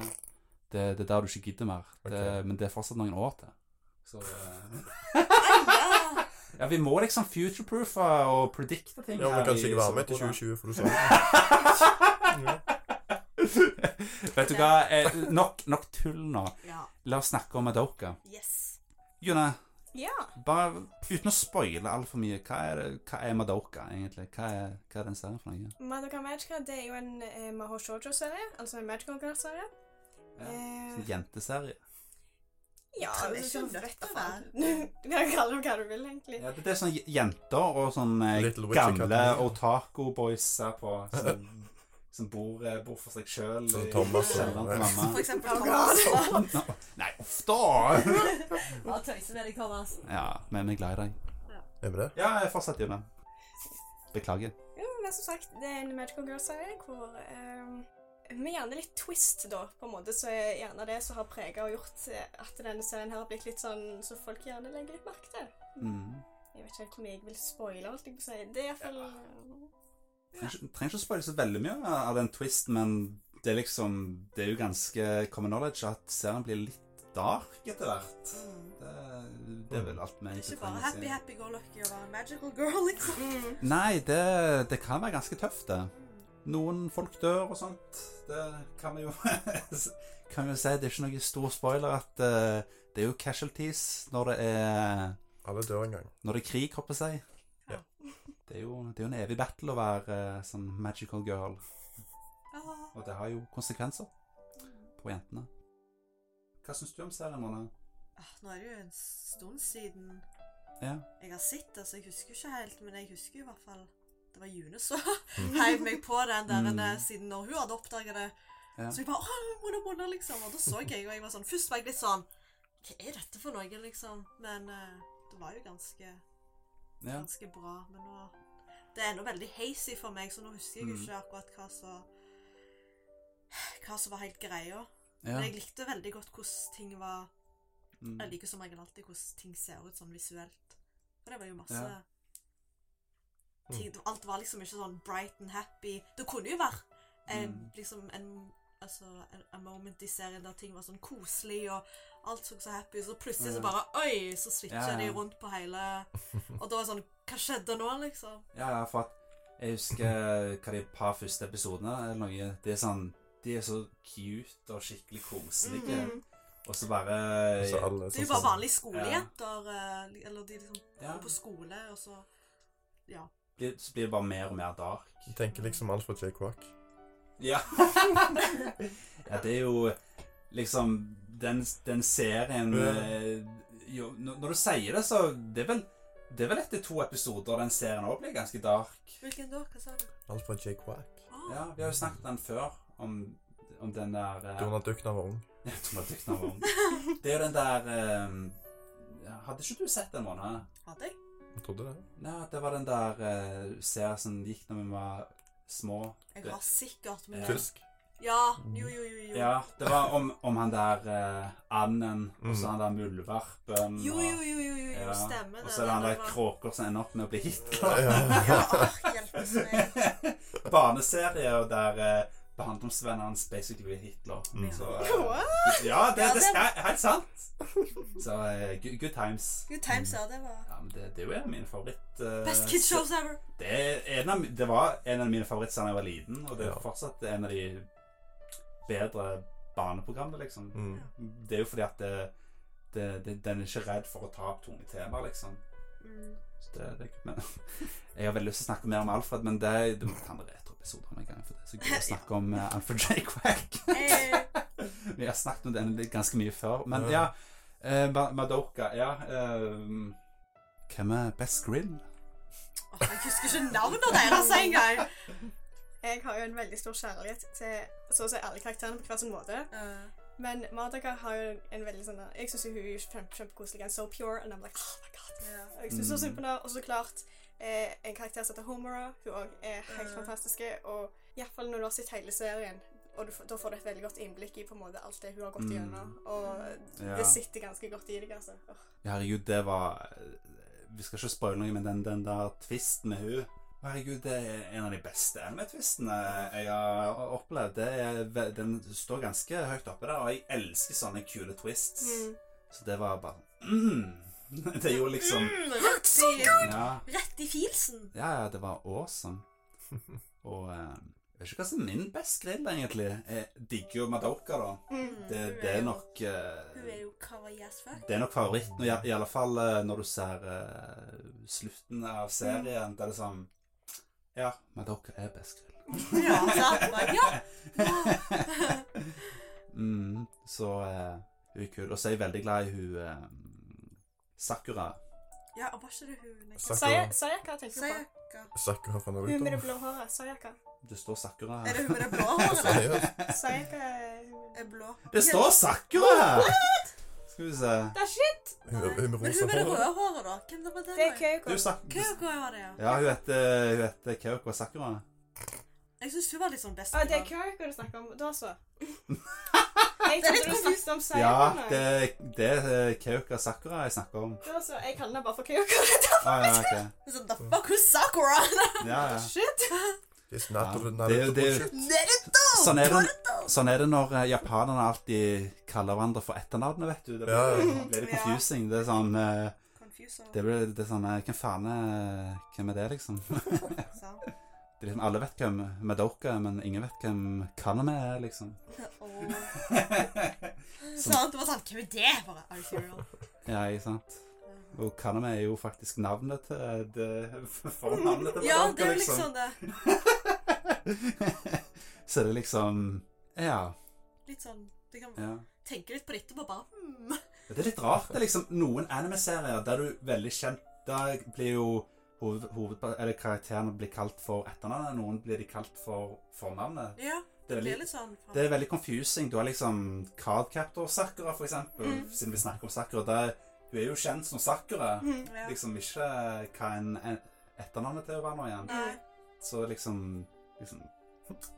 Det, det er der du ikke gidder mer. Det, Ok. Men det er fortsatt noen år til. Så eh, Ja. Ja, vi må liksom future-proofe og predikte ting. Ja, men her du kan i sikkert være med til Sopranen. 2020, for du sa det. Ja. Vet du hva, eh, nok, nok tull nå. ja. La oss snakke om Adoka. Yes. June, Ja. bare uten å spoile altfor mye, hva er, det- hva er Madoka egentlig? Hva er, hva er den serien for noe? Madoka Magica det er jo en eh, Maho Shoujo-serie, altså en Magical Girl-serie. Ja, Eh, Sånn Jenteserie. ja, Kan vi altså, ikke sånn nødt rett til å faen. Du kan kalle det hva du vil, egentlig. Ja, det det er sånne j- jenter og sånne eh, Little Witch gamle Academy. otaku-boyser på som, som bor, eh, bor for seg sjøl. Sånn Thomas og- For eksempel Oh, Thomas. Nei, uff da! Ja, tøyse med deg, Thomas. Ja, men jeg er glad i deg. Er vi det? Ja, jeg fortsetter June. Beklager. Jo, men som sagt, det er en Magical Girl-serie hvor eh, med gjerne litt twist, da, på en måte, så er gjerne det som har prega og gjort eh, at denne serien her har blitt litt sånn så folk gjerne legger litt merke til. Mm. Jeg vet ikke helt om jeg vil spoile, holdt jeg på å si. Det er iallfall eh, Trenger ikke- trenger ikke å spoile så veldig mye av den twist, men det er liksom Det er jo ganske common knowledge at serien blir litt dark etter hvert. Mm. Eh, Det, det er vel alt vi Det er egentlig ikke bare trenger å si. happy, happy, go lucky og være en magical girl, liksom. mm. Nei, det, det kan være ganske tøft, det. Noen folk dør og sånt. Det kan vi jo Kan vi jo si. Det er ikke noe stor spoiler at eh, det er jo casualties når det er Alle dør en gang. Når det er krig, håper jeg. Ja. Det er, jo, det er jo en evig battle å være eh, sånn magical girl, Ja. og det har jo konsekvenser på jentene. Hva syns du om serien, Mona? Ah, Nå er det jo en stund siden Ja. jeg har sett det, så jeg husker ikke helt, men jeg husker i hvert fall det var June som heiv meg på den der Mm. eh, siden når hun hadde oppdaget det. Ja. Så jeg bare Åh, Mona, Mona, liksom. Og da så jeg, og jeg var sånn Først var jeg litt sånn Hva er dette for noe, liksom? Men eh, det var jo ganske, ja. ganske bra. Men nå Det er ennå veldig hazy for meg, så nå husker jeg Mm. ikke akkurat hva som Hva som var helt greia. ja. Men jeg likte veldig godt hvordan ting var Mm. Jeg liker som regel alltid hvordan ting ser ut sånn visuelt. For det var jo masse Ja. Mm. ting, Alt var liksom ikke sånn bright and happy. Det kunne jo være en, Mm. liksom en, altså, en, en moment i serien der ting var sånn koselig og alt så så happy, så plutselig så Ja. bare Oi! Så switcher Ja, ja. de rundt på hele Og da var det sånn Hva skjedde nå, liksom? Ja, ja, for at jeg husker hva de par første episodene eller noe Det er sånn De er så cute og skikkelig koselige, Mm. og så bare Altså, alle, Det er sånn jo bare som- vanlige skolejenter, eh, eller de liksom ja, går på skole, og så blir- Så blir det bare mer og mer dark. Jeg tenker liksom alt fra Jay Quack. Ja. ja, det er jo liksom Den, den serien Ja. eh, jo, når, når du sier det, så Det er vel, det er vel etter to episoder den serien òg blir ganske dark. Hvilken da? Hva sa du? Alt fra Jay Quack. Å, Ja, Vi har jo snakket den før, om, om den der eh, Donald Duck når han var ung. ja, Donald Duck når han var ung. Det er jo den der eh, ja, Hadde ikke du sett den, Mona? Hadde jeg? Jeg trodde det. Nei, det var den der eh, serien som gikk når vi var små. Jeg Det- har sikkert men- Ja. Tysk. Ja, jo, jo, jo. jo. Ja, det var om, om han der eh, anden, og Mm. så han der muldvarpen. Jo, og- jo, jo, jo, jo, jo. Ja, stemmer det. Og så er det han det der var- kråker som ender opp med å bli Ja. Ja, hjelpes meg. Barneserie og der eh, behandlingsvennen hans basically blir Hitler. Mm. Så, What? eh, ja, det, Ja, det det- er helt sant. Så eh, good, good times. Good times, ja, det var Ja, men det, det er jo en av mine favoritt... eh, Best kids se- shows ever. Det, er en av, mi- det var en av mine favoritter da jeg var liten, og det er Ja. fortsatt en av de bedre barneprogrammene, liksom. Mm. Det er jo fordi at det, det, det, den er ikke redd for å ta opp tunge temaer, liksom. Mm. Så det, det er ikke, men, jeg har veldig lyst til å snakke mer om Alfred, men det, du må ta en retroepisode om en gang. For det er så gøy å snakke om eh, Alfred J. Quack. Eh, Vi har snakket om den litt- ganske mye før. Men ja, eh, Ma- Madoka, ja eh, Hvem er Best Grill? åh, jeg husker ikke navnet deres engang. Jeg har jo en veldig stor kjærlighet til så å si alle karakterene på hver sin måte. Uh, Men Madoka har jo en veldig sånn Jeg syns hun er kjempe, kjempekoselig. And so pure. And I'm like, oh my god. ja. Og Jeg synes så Mm. synd på henne. Og så klart eh, en karakter som heter Homera. Hun òg er helt Mm. fantastisk. Og iallfall når du har sett hele serien, og du, får- da får du et veldig godt innblikk i på en måte alt det hun har gått Mm. gjennom. Og Ja. det sitter ganske godt i deg, altså. Åh. Herregud, det var Vi skal ikke spoile noe, men den, den der tvisten med hun Herregud, det er en av de beste anime-twistene jeg har opplevd. Det er, ve- den står ganske høyt oppe der, og jeg elsker sånne kule twists. Mm. Så det var bare mm. Det gjorde liksom Mm, rett, i, ja, rett i filsen. ja, ja, det var awesome. Og eh, jeg vet ikke hva som er min best grill, egentlig. Jeg digger jo Madoka, da. Mm. Det, Hun er det er jo- nok eh, Hun er jo kawaii as fuck. det er nok favoritten, og i, i alle fall eh, når du ser eh, slutten av serien. Det er liksom Ja, men dere er best grill. Ja, sant? Bare, ja. mm, så eh, hun er kul. Og så er jeg veldig glad i hun eh, Sakura. ja, og var ikke det hun Sakura. Saya- Sayaka tenker du på? Sayaka. Sakura fra Hun med Naruto. det blå håret. Sayaka. Det står Sakura Er her. det hun med det blå håret? Seriøst? Sayaka er hun- Er blå. Det står Sakura her! Skal vi se Det er shit! Hun hun med Men rosa hun med det hår. røde håret, da? Hvem det var det? Det er da? Keiko. Du, Sak du, Kyoko var det, ja. ja, hun heter, hun heter Kyoko Sakura. Jeg syns hun var litt sånn best. Ah, det i er dag. Keiko du snakker om. Da så. Jeg trodde du snakket om Sayaka. Ja, nå. det, det er Kyoko Sakura jeg snakker om. Da så. Jeg kaller henne bare for liksom. Keiko. Ah, ja, ok. Hun er sånn, The fuck who's Sakura? ja, ja. Shit! It's Ja, Naruto, det er jo- Naruto det er jo- bullshit. Naruto! Sånn er, det, sånn er det når eh, japanerne alltid kaller hverandre for etternavnet, vet du. Det blir, Ja, ja. det blir litt confusing. Det er sånn eh, Confuso. Det, blir, det er sånn eh, Hvem faen er Hvem er det, liksom? Det sant? er liksom alle vet hvem Madoka er, men ingen vet hvem Kaname er, liksom. Åh. ja, Sant? Det var sånn, hvem er det? Bare, Are you serial? ikke sant? Og Kaname er jo faktisk navnet til det, fornavnet til Madoka, Ja, det er jo liksom det. Så det er liksom Ja. Litt sånn Du kan ja. tenke litt på det etterpå, bare hmm. Ja, Det er litt rart. Det er liksom noen anime-serier der du veldig kjent Der blir jo hoved, hoved, eller karakterene blir kalt for etternavnet, noen blir de kalt for fornavnet. Ja, Det er det er veldig, litt sånn faen. det er veldig confusing. Du har liksom Cardcaptor Sakura, for eksempel, Mm. siden vi snakker om Sakura. Der, hun er jo kjent som Sakura. Hmm, ja. Liksom ikke hva en, en etternavnet til å være nå igjen. Nei. Så liksom, liksom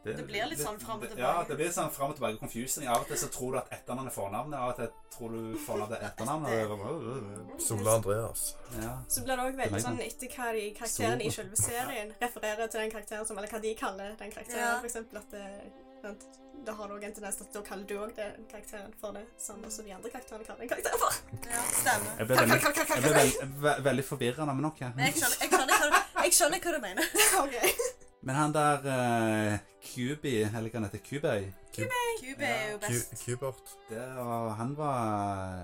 Det blir litt sånn fram og det- Ja, tilbake. det blir sånn fram og tilbake confusing. Av og til så tror du at etternavnet er fornavnet, av og til tror du fornavnet er etternavnet. Sola Andreas. Ja. Så blir det òg veldig Lenge. sånn etter hva de karakterene i selve serien refererer til den karakteren som Eller hva de kaller den Ja. karakteren. For eksempel at det, sant, da har du òg en tendens til at da kaller du òg den karakteren for det samme som de andre karakterene kaller den karakteren for. Ja, stemmer. Jeg ble veldig, jeg ble veld, ve- veldig forvirrende med noe. Men jeg skjønner, jeg, skjønner hva, du- jeg skjønner hva du mener. Ok. Men han der eh, Kubi, eller hva han heter, Kubei, Cube er jo Q- best. Kubert. det var, han var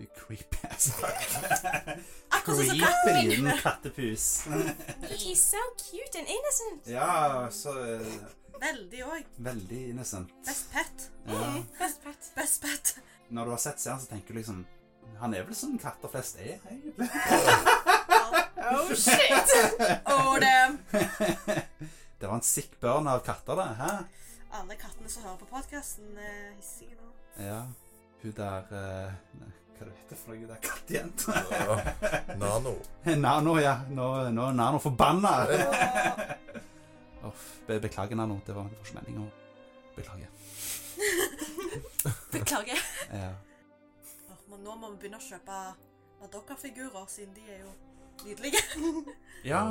eh, creepy as fuck. Akkurat sånn som Creepy liten kattepus. He's so cute and innocent. Ja, så eh, Veldig òg. veldig innocent. Best pet. Mm. Ja. Best pet. Best pet. Når du har sett serien, så tenker du liksom Han er vel som katter flest er, egentlig. Oh shit! Og det Det var en sick burn av katter, det. Hæ? Alle kattene som hører på podkasten, er hissige nå. Ja. Hun der eh, nei, Hva er det heter for noe? Hun der kattejenta? Ja. Nano. Nano, ja. Nå, nå er Nano forbanna. Åh. Uff, be, beklager, Nano. Det var det var ikke meningen å Beklager. Beklager. Ja. Åh, men nå må vi begynne å kjøpe Madoka-figurer, siden de er jo nydelige. ja,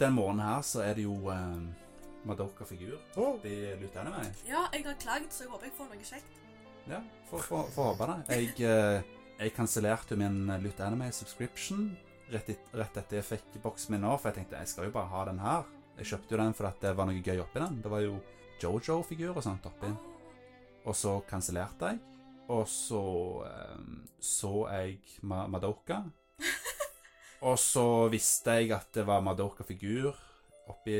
den morgenen her så er det jo eh, Madoka-figur Å, i Lute Anime. Ja, jeg har klagd, så jeg håper jeg får noe kjekt. Ja, får får- får håpe det. Jeg, eh, jeg kansellerte min Lute Anime-subscription rett, et- rett etter jeg fikk boksen min nå, for jeg tenkte jeg skal jo bare ha den her. Jeg kjøpte jo den fordi at det var noe gøy oppi den. Det var jo Jojo-figur og sånt oppi. Og så kansellerte jeg. Og så eh, så jeg Ma Madoka. Og så visste jeg at det var Madoka-figur oppi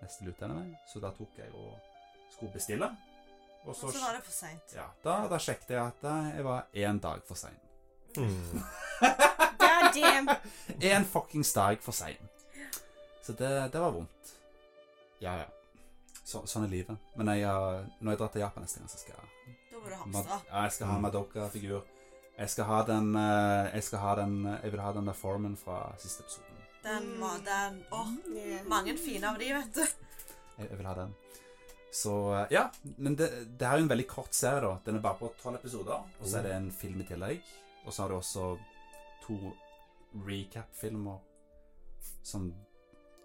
neste Lute Anime, så da tok jeg og skulle bestille. Og Og så var det for seint. ja, da, da sjekket jeg at eh, jeg var én dag for sein. Hmm. God damn. Én fuckings dag for sein. Så det, det var vondt. Ja, ja. Så, sånn er livet. Men jeg, har- når jeg drar til Japan neste gang, så skal jeg Da må du Mad- hamstre. ja, jeg skal ha en Madoka-figur. Jeg skal ha den eh, Jeg skal ha den Jeg vil ha den der formen fra siste episoden. Den var den Åh, Yeah. Mm. mange fine av de, vet du. Jeg, jeg vil ha den. Så eh, Ja. Men det, det her er jo en veldig kort serie, da. Den er bare på tolv episoder. Og så er det en film i tillegg. Og så har du også to recap-filmer som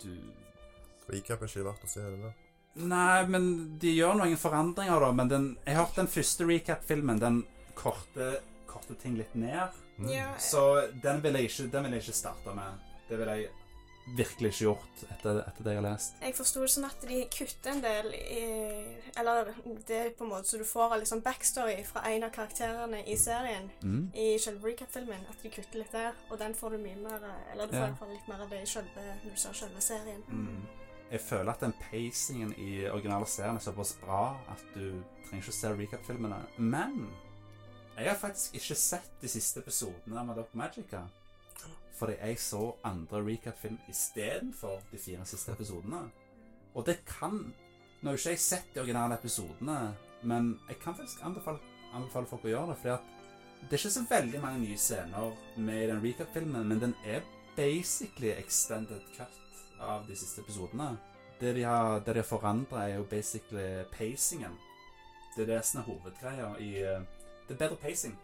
du Recap er ikke verdt å se. det der. Nei, men de gjør noen forandringer, da. Men den, jeg hørte den første recap-filmen. Den korte, korte ting litt ned. Hmm. Ja, Så den vil jeg ikke, den vil jeg ikke starte med. Det vil jeg virkelig ikke gjort etter, etter det jeg har lest. Jeg forsto det sånn at de kutter en del i Eller det er på en måte så du får liksom backstory fra en av karakterene i serien. Mm. I selve recap-filmen. At de kutter litt der. Og den får du mye mer Eller du får Ja. i hvert fall litt mer av det i selve, når du ser selve serien. Mm. Jeg føler at den pacingen i originale serien er såpass bra at du trenger ikke å se recap-filmene. Men jeg har faktisk ikke sett de siste episodene av Madoc Magica. Fordi jeg så andre recap-film istedenfor de fire siste episodene. Og det kan Nå har jo ikke jeg sett de originale episodene, men jeg kan faktisk anbefale, anbefale folk å gjøre det. fordi at det er ikke så veldig mange nye scener med i den recap-filmen, men den er basically extended cut av de siste episodene. Det de har, det de har forandra, er jo basically pacingen. Det er det som er hovedgreia i eh, Det er bedre pacing,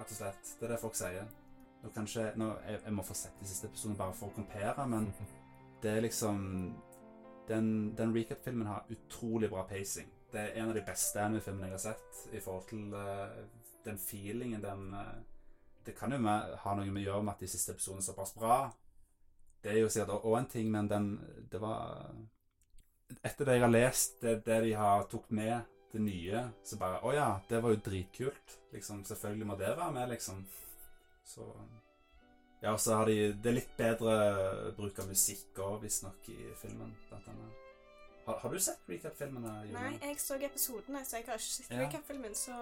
rett og slett. Det er det folk sier. Nå kanskje, nå, jeg, jeg må få sett de siste episodene bare for å kompere, men det er liksom Den, den recap-filmen har utrolig bra pacing. Det er en av de beste anime-filmene jeg har sett i forhold til eh, den feelingen den eh, Det kan jo med, ha noe med å gjøre med at de siste episodene er såpass bra. Det er jo sikkert òg en ting, men den Det var Etter det jeg har lest, det, det de har tok med, det nye, så bare Å ja, det var jo dritkult. Liksom, selvfølgelig må det være med, liksom. Så Ja, og så har de Det er litt bedre bruk av musikk òg, visstnok, i filmen. Blant annet. Har, har du sett recap-filmene? Julie? Nei, jeg så episodene, så jeg har ikke sett Ja. recap-filmen. Så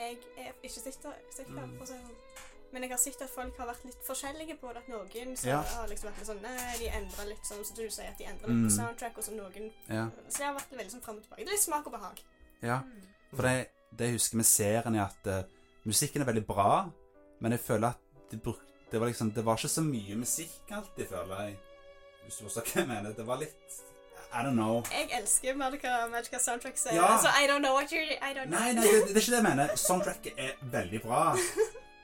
jeg er ikke sikker, sikker Mm. for å si det sånn. Men jeg har sett at folk har vært litt forskjellige på det. At noen som Ja. har liksom vært litt sånn Nei, de endrer litt sånn som du sier, at de endrer litt Mm. på soundtrack, og så noen Ja. Så det har vært veldig sånn frem og tilbake. Det er litt smak og behag. ja. For det, det jeg husker med serien er at eh, musikken er veldig bra, men jeg føler at de bruk, det, var liksom, det var ikke så mye musikk alltid, føler jeg. Hvis du forstår hva jeg mener. Det var litt I don't know. Jeg elsker Magica, Magica Soundtrack, så, Ja. så I don't know what you I don't Nei, nei, know. det, det er ikke det jeg mener. Soundtracket er veldig bra.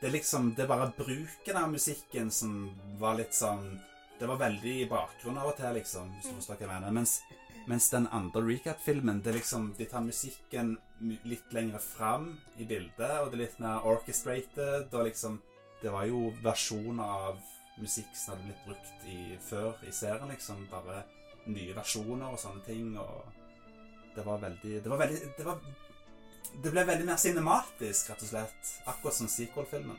Det er liksom Det er bare bruken av musikken som var litt sånn Det var veldig i bakgrunnen av og til, liksom, hvis du forstår hva jeg mener. Mens, mens den andre recap-filmen, det er liksom De tar musikken m- litt lenger fram i bildet, og det er litt mer orchestrated, og liksom Det var jo versjoner av musikk som hadde blitt brukt i, før i serien, liksom. Bare nye versjoner og sånne ting, og det var veldig Det var veldig Det var det ble veldig mer cinematisk, rett og slett. Akkurat som sequel-filmen.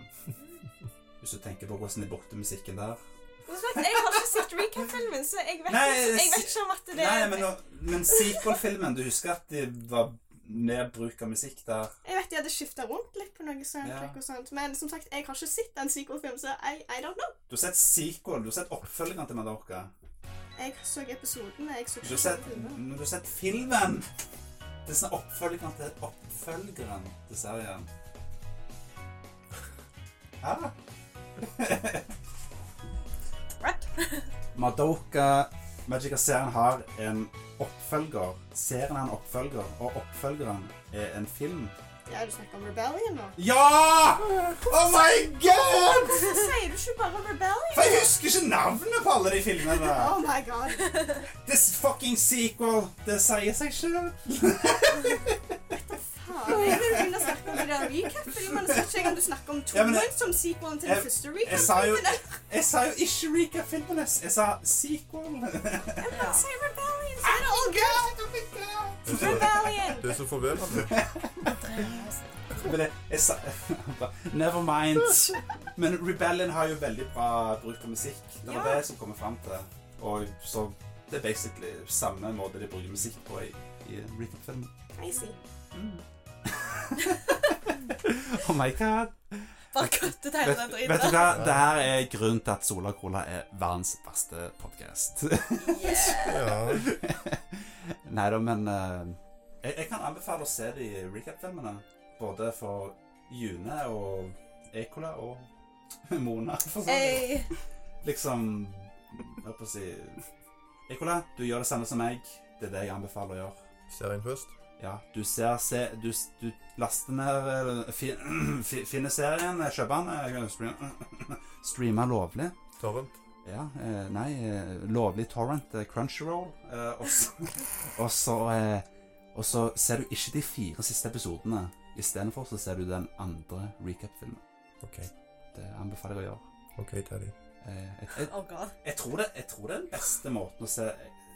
Hvis du tenker på hvordan de brukte musikken der. Som sagt, Jeg har ikke sett recap-filmen, så jeg vet, Nei, ikke- jeg si- vet ikke om at det Nei, men, nå- men sequel-filmen Du husker at det var mer bruk av musikk der? Jeg vet de hadde skifta rundt litt på noe soundtrack Ja. og sånt, men som sagt, jeg har ikke sett en sequel-film, så I, I don't know. Du har sett sequel, du har sett oppfølgeren til Mallorca. Jeg så episoden, jeg så Du har ikke sett, filmen. men du har sett filmen! Det er sånn oppfølgeren til oppfølgeren til serien. Hæ? Right. Madoka Magica-serien har en oppfølger. Serien har en oppfølger, og oppfølgeren er en film. Ja, du snakker om Rebellion nå? Ja! Oh my god! Hvorfor sier du ikke bare Rebellion? For jeg husker ikke navnet på alle de filmene. Oh my god. This fucking sequel. Det sier seg selv. Faen. Jeg vil begynne å snakke om de der recap-filmene, så vet ikke jeg om du snakker om Ja, men toen jeg- som sequelen til den jeg- første Jeg sa jo, recap-filmen. jeg sa jo ikke recap-filmene. Jeg sa sequel. Ja. Si Rebellion, så er det all good. Rebellion. Det er så forvirrende. Men jeg, jeg sa Never mind. Men Rebellion har jo veldig bra bruk av musikk. Det var Ja. det som kom fram til. Og så det er basically samme måte de bruker musikk på i, i Recap-filmen. Crazy. Oh my god. Bare kuttet hele Vet, den vet du driten. hva? Det her er grunnen til at Sola Cola er verdens beste podkast. Yeah. Ja. Nei da, men eh, jeg, jeg kan anbefale å se de recap-filmene. Både for June og Ekola og Mona. For sånn. Hey. liksom Jeg holdt på å si Ekola, du gjør det samme som meg. Det er det jeg anbefaler å gjøre. Serien først. Ja, du ser se, du, s- du laster ned eller fin, fi- Finner serien, kjøper den eh, stream- Streamer lovlig. Torrent. Ja, eh, nei, eh, lovlig torrent, eh, Crunchyroll. Eh, og så- og så eh, Og så ser du ikke de fire siste episodene. Istedenfor så ser du den andre recap-filmen. Ok. Det anbefaler jeg å gjøre. OK, Daddy. Eh, jeg, jeg, Oh god. jeg, tror det, jeg tror det er den beste måten å se,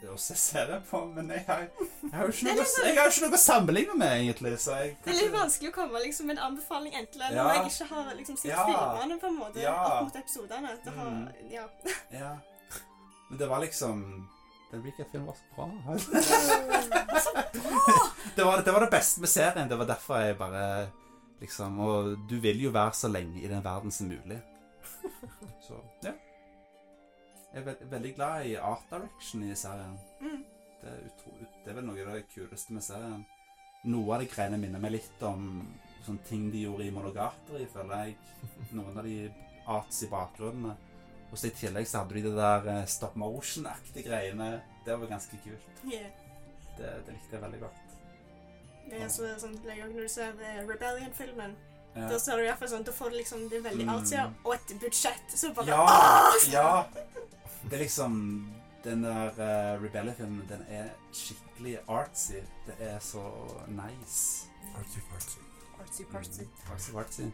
å se serien på, men jeg har, jeg har jo ikke Det er noe, litt- sånn- jeg har jo ikke noe å sammenligne med, egentlig. Så jeg, Det er litt vanskelig å komme liksom, med en anbefaling enten eller Ja. når jeg ikke har liksom, sett Ja. filmene på en måte Ja. opp mot episodene. Det har, Mm. ja. Ja. Men det var liksom Den recap-filmen var så bra. det, var, det var det beste med serien. Det var derfor jeg bare liksom Og du vil jo være så lenge i den verden som mulig. Så ja. Jeg er veld, veldig glad i art direction i serien. Mm. Det er, utro, det er vel noe av det kuleste med serien. Noe av de greiene minner meg litt om sånne ting de gjorde i Monogatari, føler jeg. Noen av de arts i bakgrunnene. Og så i tillegg så hadde de det der eh, stop motion-aktige greiene. Det var ganske kult. Yeah. Det, det likte jeg veldig godt. Det er så, sånn, hver gang du ser eh, Rebellion-filmen, Ja. da ser du i hvert fall sånn, da får du liksom det er veldig Mm. artsy og et budsjett, så bare Ja, ah! ja. Det er liksom Den der uh, Rebellion-filmen, den er skikkelig artsy. Det er så nice. Artsy, artsy. Artsy partsy. Artsy-artsy.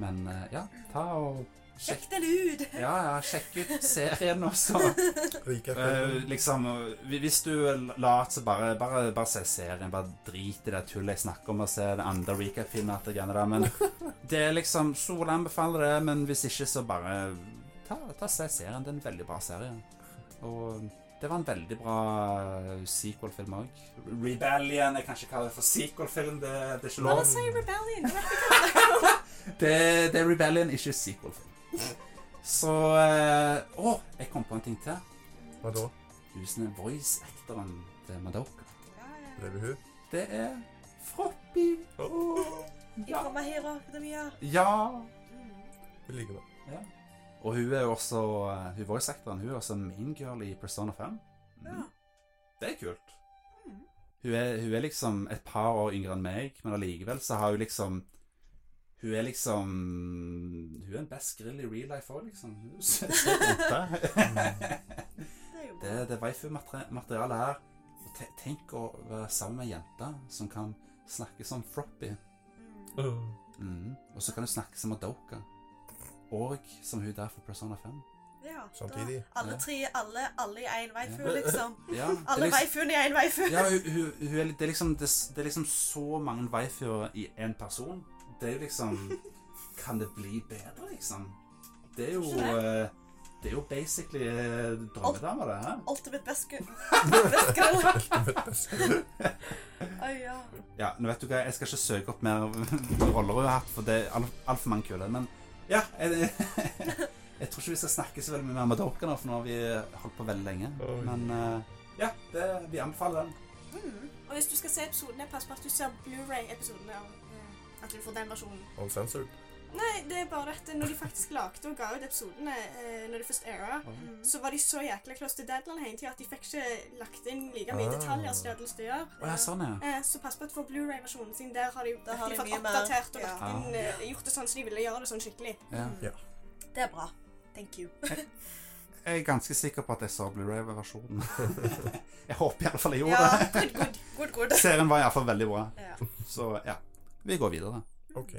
Men eh, ja, ta og sjekk Sjekk den ut! ja, ja, sjekk ut serien også. Recap. Eh, liksom, eh, hvis du er lat, så bare, bare, bare se serien. Bare drit i det tullet jeg snakker om, og se den andre recap-filmen etter greiene der. Men det er liksom Sol anbefaler det, men hvis ikke, så bare ta, ta se serien. Det er en veldig bra serie. Og det var en veldig bra eh, sequel-film òg. Rebellion Jeg kan ikke kalle det for sequel-film. Det, det er ikke Alle lov. sier Rebellion! det var- Det, det er Rebellion, ikke sequel-film. Så eh, Å, jeg kom på en ting til. Hva da? Husene voice-actoren til Madoka. Ble det hun? Det er Froppi. Ja. Mm. Fra My Hero Academia. Ja. Hun liker meg. ja. Og hun er jo også eh, Hun voice-actoren hun er også main girl i Persona 5. Mm. Ja. Det er kult. Mm. Hun er, hun er liksom et par år yngre enn meg, men allikevel så har hun liksom Hun er liksom Hun er en best grill i real life òg, liksom. Hun er så- så jente. Det er jo bra. Det, det waifu-materialet her Og te- Tenk å være sammen med ei jente som kan snakke som Froppy. Mm. Mhm. Og så kan du snakke som Adoka. Og som hun der fra Persona 5. Ja, da- Samtidig. Ja. Alle tre, alle, alle i én veifu, Ja. liksom. Ja, det er Alle liksom- veifuene i én veifu. Ja, hun, hun, hun er, litt- det, er liksom, det, det er liksom så mange veifører i én person. Det er jo liksom Kan det bli bedre, liksom? Det er jo eh, Det er jo basically eh, drømmedama, det her. Ultimate best girl. Best girl. Oi, ja. Ja, nå vet du hva, jeg skal ikke søke opp mer roller hun har hatt, for det er altfor alt for mange kule. Men ja, jeg, jeg tror ikke vi skal snakke så veldig mye mer med dere nå, for nå har vi eh, holdt på veldig lenge. Oi. Men eh, ja, det, vi anbefaler den. Mm. Og hvis du skal se episodene, pass på at du ser Blu-ray-episodene. av, eh, At du får den versjonen. Uncensored. Nei, det er bare at når de faktisk lagde og ga ut episodene, eh, når de først era, Mm. så var de så jækla close til deadline hele tida at de fikk ikke lagt inn like mye Ah. detaljer som de hadde lyst til å gjøre. Å ja, sånn, ja. Eh, Så pass på at for Blu-ray-versjonen sin, der har de, har de virkelig fått mye mer, oppdatert og ja. lagt inn, eh, gjort det sånn som de ville gjøre det sånn skikkelig. ja. Mm. Ja. Det er bra. Thank you. Jeg er ganske sikker på at jeg så Blu-ray-versjonen. jeg håper iallfall jeg gjorde Ja, det. good, good, good, good. Serien var iallfall veldig bra. Ja. Så ja, vi går videre. OK.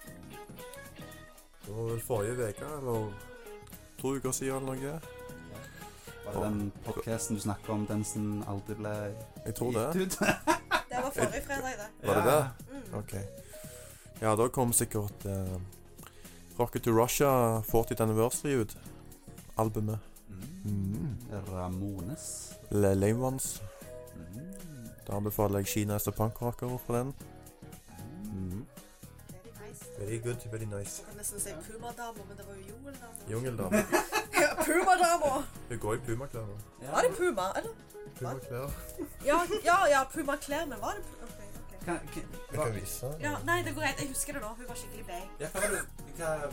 Det var vel forrige uke, eller to uker siden eller noe. Var det den podcasten du snakker om, den som aldri ble Jeg tror det. gitt ut? Det var forrige fredag, det. Var det det? Mm. OK. Ja, da kom sikkert eh, Rocket to Russia 40th Anniversary ut. Albumet. Mm. Mm. Ramones. Le Lame Ones. Mm. Da anbefaler jeg Kina som punkrocker for den. Mm. Very nice. Very good, very nice. Jeg kan nesten si pumadama, men det var jo jungeldama. Jungeldame. Ja, pumadama! Hun går i pumaklær nå. Var det puma, eller? Pumaklær. Ja, ja, ja pumaklær, men var det puma? Ok, ok. Hva, hva, vise. Ja, nei, det går greit. Jeg husker det nå. Hun var skikkelig bay. ja, hva, var det-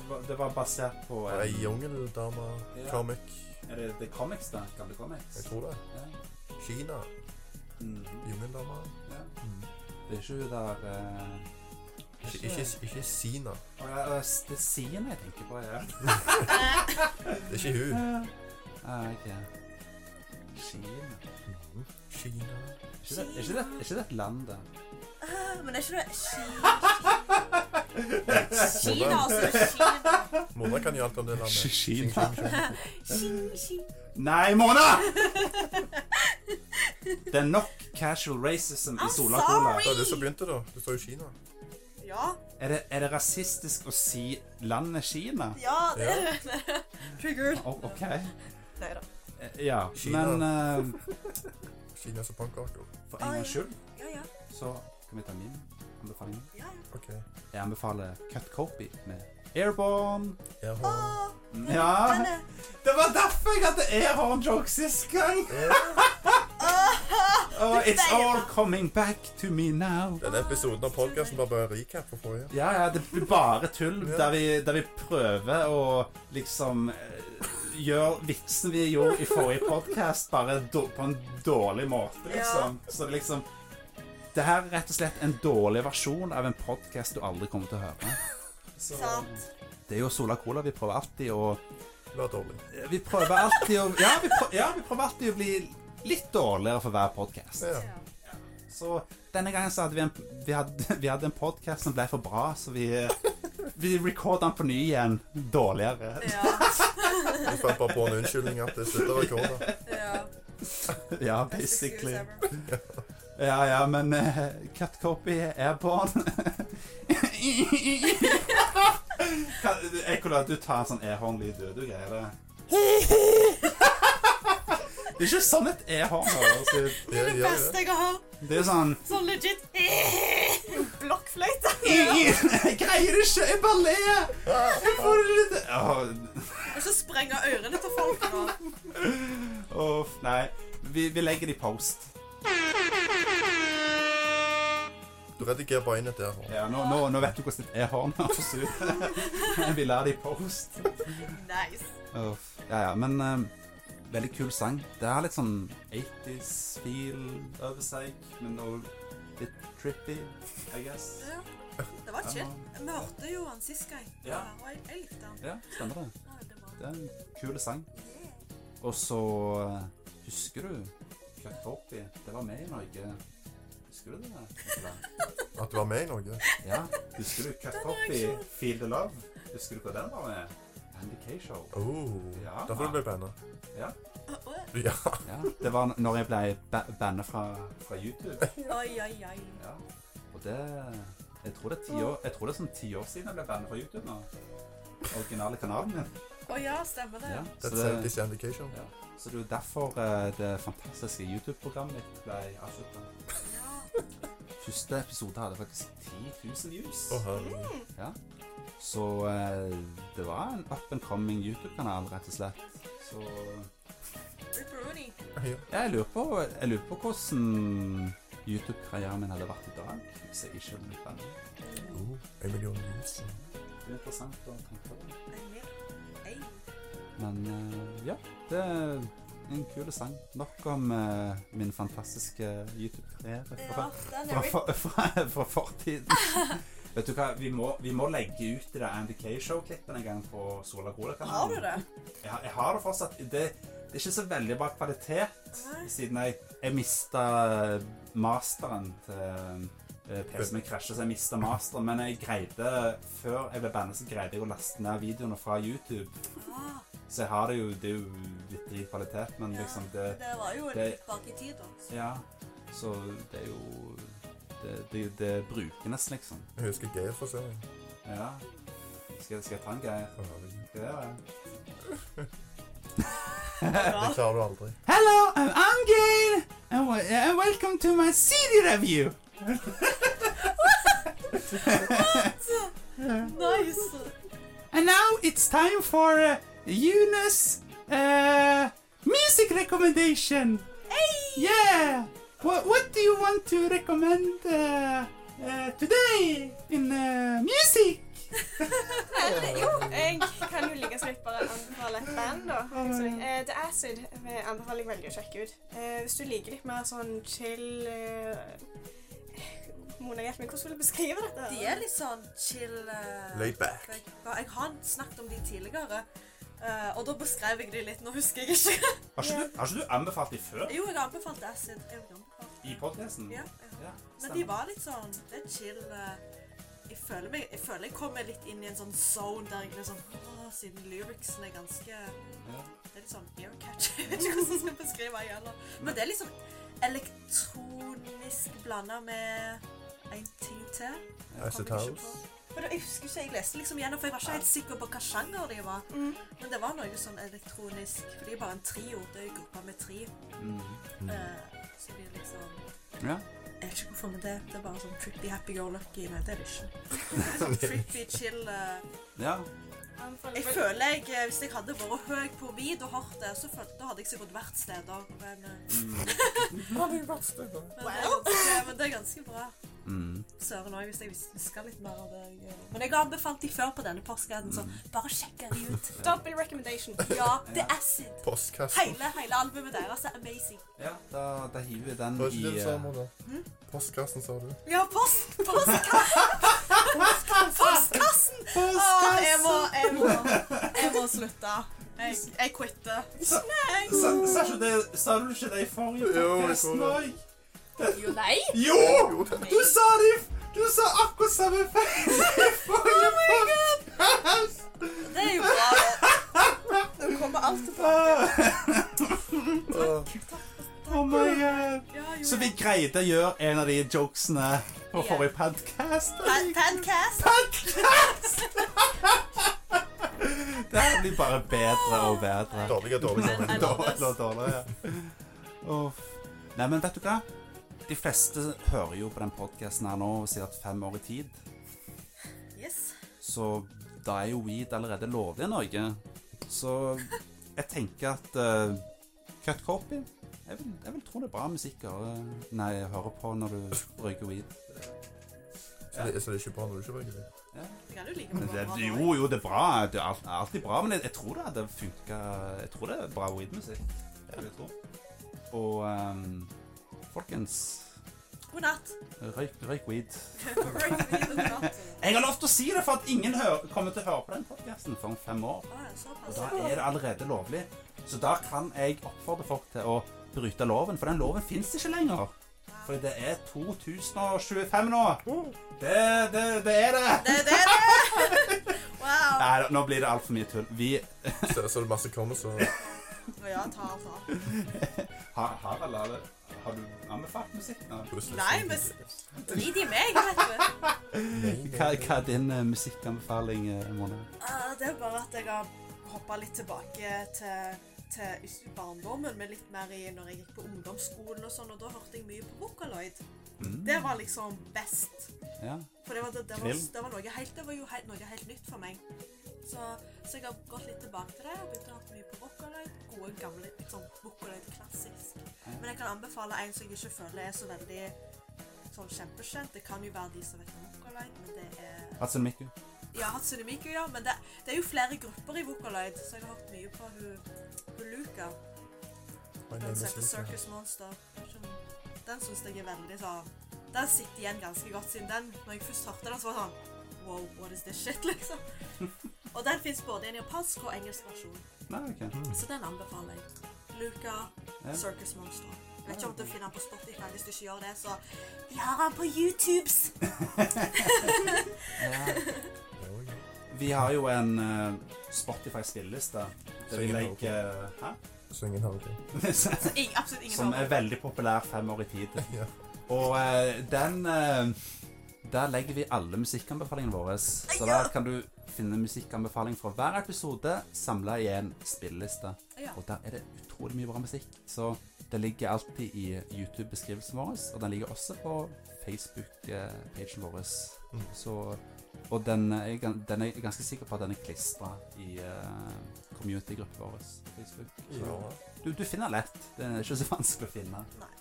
hva, det var basert på eh, Ei jungeldame. Ja. Comic. Er det, det er comics, da? Gamle comics? Jeg tror det. Ja. Kina. Mhm, Jungeldame. ja. Mm. Det er ikke hun der eh, Ikke, ikke, ikke Sina. Å, ja, det er- Det er Sien jeg tenker på, ja. Det er ikke hun. Ah, ok. Sien Er Mhm. Kina. ikke det, er ikke det, er ikke det et land, da? Ah, Men er ikke det Kina? Kina, altså. Kina. Mona kan jo alt om det landet. Kina. Xing, xing, xing. Kina, Kina. Nei, Mona! Det er nok casual racism i I'm Sola sorry! Cola. Det var du som begynte, da. Du sa jo Kina. Ja, Er det, er det rasistisk å si landet Kina? ja, det Ja. er det. Triggered. Oh, OK. Nei da. Eh, Ja, Kina. men eh, Kina som pannkake. for en gangs skyld Ja, ja. så kan vi ta min anbefaling. ja, ja. OK. Jeg anbefaler Cut Copy med Airborne. Jeg Å, har Ja, den er det var derfor jeg hadde Airborne-joke sist gang. Oh, it's all coming back to me now. Denne episoden av podkasten var bare recap fra forrige. Ja, ja, det blir bare tull Ja. der, vi, der vi prøver å liksom eh, gjøre vitsen vi gjorde i forrige podkast, bare då- på en dårlig måte, liksom. Så det liksom Det her er rett og slett en dårlig versjon av en podkast du aldri kommer til å høre. Så, sant. det er jo Sola Cola. Vi prøver alltid å Det var dårlig. Vi prøver alltid å Ja, vi prøver, ja, vi prøver alltid å bli litt dårligere for hver podkast. Ja. Så denne gangen så hadde vi en, vi hadde, vi hadde en podcast som ble for bra, så vi, vi recordet den på ny igjen, dårligere. Ja, Vi fant bare på en unnskyldning at det slutta å rekorde. ja. Ja, Best excuse basically. ever. Ja, ja, men eh, cut copy airborne. Kan- Ekkola, du tar en sånn e-horn-lyd, du. Du greier det. Det er ikke sånn et e-horn høres ut. Det Det gjør det. beste jeg har hørt. Det er sånn Sånn legit. Blokkfløyte! Jeg greier det ikke! Jeg bare ler! Jeg får det litt Åh, Og så sprenger ørene til folk nå. Uff, nei. Vi, vi legger det i post. Du redigerer bare inn et der. Ja, nå, nå, nå vet du hvordan det er hånd høres ut. vi lar det i post. Nice. Uff. Ja, ja, men eh, veldig kul sang. Det har litt sånn 80s-feel over seg, men også litt trippy, I guess. Ja, det var chill. Vi hørte jo han sist gang, Ja. og jeg, jeg likte han. Ja, stemmer det. Det var veldig bra. Det er en kul sang. Og så eh, Husker du Cut Copy? Det var med i Norge. Husker du det? Nicola? At du var med i Norge. Ja, husker du Cut Copy, reaksjonen. Feel the Love? Husker du hva den var med? Andy K-show. Oh. Ja. Derfor du ble banna. Å, å, Ja. Ja, det var når jeg ble ba bannet fra, fra YouTube. Oi, oi, oi. Ja. Og det Jeg tror det er, ti år, jeg tror det er sånn ti år siden jeg ble bannet fra YouTube nå. Originale kanalen min. Å ja, stemmer det. Ja, så, That's det, this indication. ja. så det er jo derfor eh, det fantastiske YouTube-programmet mitt ble avsluttet. Ja. Første episode hadde faktisk 10 000 views. Å, herregud. Så eh, det var en up and coming YouTube-kanal, rett og slett. Så Rip Rooney. Ja. ja, jeg, lurer på, jeg lurer på hvordan YouTube-karrieren min hadde vært i dag. Hvis jeg ikke hadde blitt ferdig. Oh, en million views. Det er interessant å tenke på. det. En mer. Ei. Men eh, ja, det er en kul sang. Nok om eh, min fantastiske YouTube-karriere Ja, fra, den fra, er rip. fra, fra, fra fortiden. Vet du hva, vi må, vi må legge ut det der Andy K-show-klippen en gang på Sola Cola-kanalen. Har du det? Jeg, har- jeg har det fortsatt. Det, det er ikke så veldig bra kvalitet, siden jeg, jeg mista masteren til eh, PC-en min krasja, så jeg mista masteren. Men jeg greide, før jeg ble bannet, så greide jeg å laste ned videoene fra YouTube. Ah, Så jeg har det jo Det er jo litt drit kvalitet, men ja. liksom det Det var jo det- litt bak i tid, da. så- Ja. Så det er jo Det, det, det er brukenes, liksom. Jeg husker Geir for seg. Ja. Skal, skal jeg ta en greie? Å, herregud. Skal jeg gjøre det? Det klarer du aldri. Hello, I'm Angel, and, w- and welcome to my CD review. Nice. And now it's time for uh, Eunice uh, music recommendation. Hey! Yeah. What What do you want to recommend uh, uh, today in uh, music? Men jo, jeg kan jo like så vidt bare anbefale et band, da. Så, eh, The Acid eh, anbefaler jeg veldig å sjekke ut. Eh, hvis du liker litt mer sånn chill eh, Mona, hjelp meg, hvordan vil jeg beskrive dette? De er litt sånn chill eh, Laid back. jeg, ja, jeg har snakket om de tidligere. eh, og da beskrev jeg de litt. Nå husker jeg ikke. Har ikke du, har ikke du anbefalt dem før jo, jeg anbefalte Acid. Jeg anbefalte. i podkasten? Ja, jeg har- Men de var litt sånn Det er chill. eh, jeg, føler meg, jeg føler jeg kommer litt inn i en sånn zone der jeg blir sånn åh, Siden lyricsen er ganske Ja. Det er litt sånn ear catch. Jeg vet ikke hvordan jeg skal beskrive det heller. Men det er liksom elektronisk blanda med en ting til. Acid Kommer jeg ikke House. på. Men jeg husker ikke, jeg leste liksom gjennom, for jeg var ikke helt sikker på hva sjanger de var. Mm. Men det var noe sånn elektronisk, for de er bare en trio, det er jo gruppa med tre. Mm. Eh, så blir det liksom, Ja. jeg vet ikke hvorfor med det, det er bare sånn trippy happy go lucky, nei det er det ikke. Sånn trippy chill. eh. ja. Anbefaler Jeg føler jeg, eh, hvis jeg hadde vært høy på vid og hørt det, så følte, da hadde jeg sikkert vært steder. Men, eh, Mm. men, det, er ganske, men det er ganske bra. Mm. Søren òg, hvis jeg husker litt mer av det. jeg gjør. Men jeg har anbefalt de før på denne postkassen, så bare sjekk de ut. Double recommendation. Ja, det er acid. Postkassen. Hele, hele albumet deres er amazing. ja da, da hiver vi den Var ikke det i det eh, samme, da? Hm? Postkassen, sa du? Ja, post, postkassen! postkassen! Åh, jeg må, jeg må, jeg må slutte. Jeg, jeg quitter. Sa, sa, ikke det, sa du ikke det i forrige Jo, jeg podcast tror det. òg? Jo, nei. Jo! Du sa det! i- Du sa akkurat samme feil i forrige podcast! Det er jo bra. det. Nå kommer alt tilbake. Oh my god. Ja, jo. Så vi greide å gjøre en av de jokesene på Ja. forrige podcast. Pa- Pancast. Det her blir bare bedre og bedre. Dårlig er dårlig. Men I love Dårligere this. og dårligere. Uff. Nei, men vet du hva? De fleste hører jo på den podcasten her nå og sier at fem år i tid. Yes. Så da er jo weed allerede lovlig i Norge. Så jeg tenker at uh, cut copy jeg vil, jeg vil tro det er bra musikk å høre, nei, høre på når du røyker weed. Så det, så det er ikke bra når du ikke bruker det? Jeg kan jo like Men det, bra nå. jo, jo, det er bra. Det er alt- er alltid bra. Men jeg, jeg tror det hadde funka Jeg tror det er bra weed-musikk. Det vil jeg tro. Og ehm, folkens, God natt. røyk, røyk weed. God natt. Jeg har lov til å si det, for at ingen hø- kommer til å høre på den podkasten før om fem år. Åh, såpass. Og da er det allerede lovlig. Så da kan jeg oppfordre folk til å bryte loven, for den loven fins ikke lenger. For det er 2025 nå. Det, det, det er det. Det er det. det. Wow. Nei, nå blir det altfor mye tull. Vi Så, så er det masse kommer, så Nå ja, ta alt av. har, har, eller, har du anbefalt musikk nå? plutselig Nei, men Drit i meg, vet du. Hva, hva er din eh, musikkanbefaling, eh, Mona? Ah, Det er bare at jeg har hoppa litt tilbake til, til ikke barndommen, men litt mer i når jeg gikk på ungdomsskolen og sånn, og da hørte jeg mye på Vocaloid. Det var liksom best. Mm. Ja. For det var, det, det var, Kvill. det var, noe, helt, det var jo helt, noe helt nytt for meg. Så, så jeg har gått litt tilbake til det og begynt å høre mye på Vocaloid. Gode, gamle litt sånn Vocaloid klassisk. Men jeg kan anbefale en som jeg ikke føler er så veldig sånn kjempekjent. Det kan jo være de som vet om Vocaloid, men det er Hatsune Miku. ja, Hatsune Miku, ja. Men det, det er jo flere grupper i Vocaloid, så jeg har hørt mye på hun, hun Luca. Den som heter Circus Monster. Den syns jeg er veldig sånn Den sitter igjen ganske godt, siden den Når jeg først hørte den, så var det sånn Wow, what is this shit, liksom. Og den fins både i en japansk og engelsk versjon, Nei, ok. så den anbefaler jeg. Luca, Ja. Circus Monster. Jeg vet ikke om du finner den på Spotify hvis du ikke gjør det, så De har den på YouTubes! Vi har jo en eh, Spotify-spilleliste der vi Synger legger Hæ? Syngen har vi ikke. Så ing- absolutt ingen Som hører er veldig populær fem år i tid. Ja. Og eh, den eh, Der legger vi alle musikkanbefalingene våre. Så der kan du finne musikkanbefaling fra hver episode samla i en spilleliste. Ja. Og der er det utrolig mye bra musikk. Så det ligger alltid i Mm. YouTube-beskrivelsen vår, og den ligger også på Facebook-pagen vår. Så Og den er, jeg gan- den er jeg ganske sikker på at den er klistra i eh, community-gruppa vår. på Facebook. Så Du, du finner lett. Det er ikke så vanskelig å finne. Nei.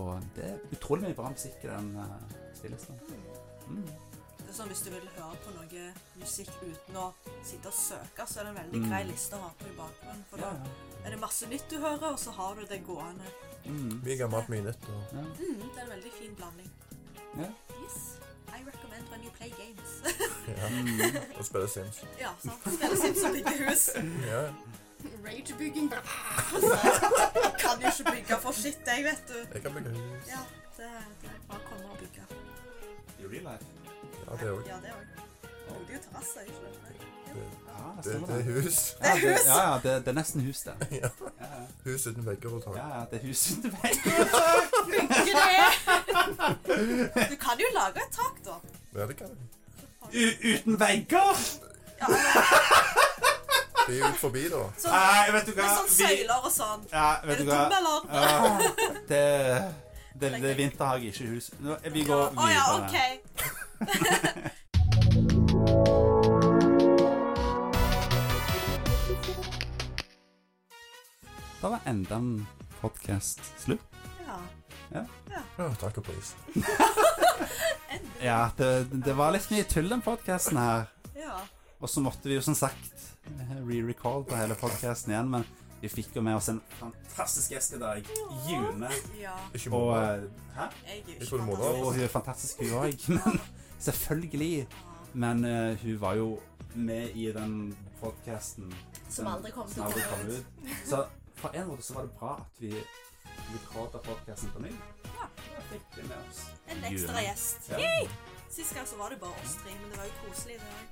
Og det er utrolig mye bra musikk i den uh, spillelisten. Mm. Det er sånn, Hvis du vil høre på noe musikk uten å sitte og søke, så er det en veldig Mm. grei liste å ha på i bakgrunnen. For Ja, da er det masse nytt du hører, og så har du det gående. ja. Mm. Mye gammelt, mye nytt. Og ja. Mm, det er en veldig fin blanding. Ja. Yes. I recommend when you play games. ja, Mm. og spille Sims. ja, sant. Spille Sims og bygge hus. Ja. Ragebygging. Jeg kan jo ikke bygge for shit, jeg, vet du. Jeg kan bygge hus. Ja, det, det er bare å komme og bygge. I real life. Ja, det òg. Ja, det òg. Bygde jo terrasse, ikke sant? Det, Ja, det det, stemmer det er det. hus. Ja, det, ja, ja, det, det er nesten hus, det. Ja. Ja, ja. Hus uten vegger og tak. ja, ja, det er hus uten vei. Du kan jo lage et tak, da. Ja, det kan jeg. U- Uten vegger! Ja, men- Det er ut forbi, da. sånn, Nei, vet du hva med sånn Vi- søyler og sånn. Ja, Er vet du du hva dum, eller? Ja, det, det, det er vinterhage, ikke hus. Nå, vi går Å ja, videre. OK. Da var enda en podkast slutt. Ja. Ja, takk og pris. Ja, det, det var litt mye tull, den podkasten her. ja. Og så måtte vi jo som sagt re-recall på hele podkasten igjen, men vi fikk jo med oss en fantastisk gjest i dag. June. Ja. Ikke Og moro. eh, Hæ? Jeg er jo Jeg ikke tror du må da. Og fantastisk. hun er fantastisk, hun òg. Men selvfølgelig. Men eh, hun var jo med i den podkasten Som aldri kom som til å aldri kom komme ut. ut. Så på en måte så var det bra at vi rekorda podkasten på ny. Ja. Da fikk vi med oss. En ekstra Jule. gjest. Ja, Sist gang så var det bare oss tre, men det var jo koselig. det var.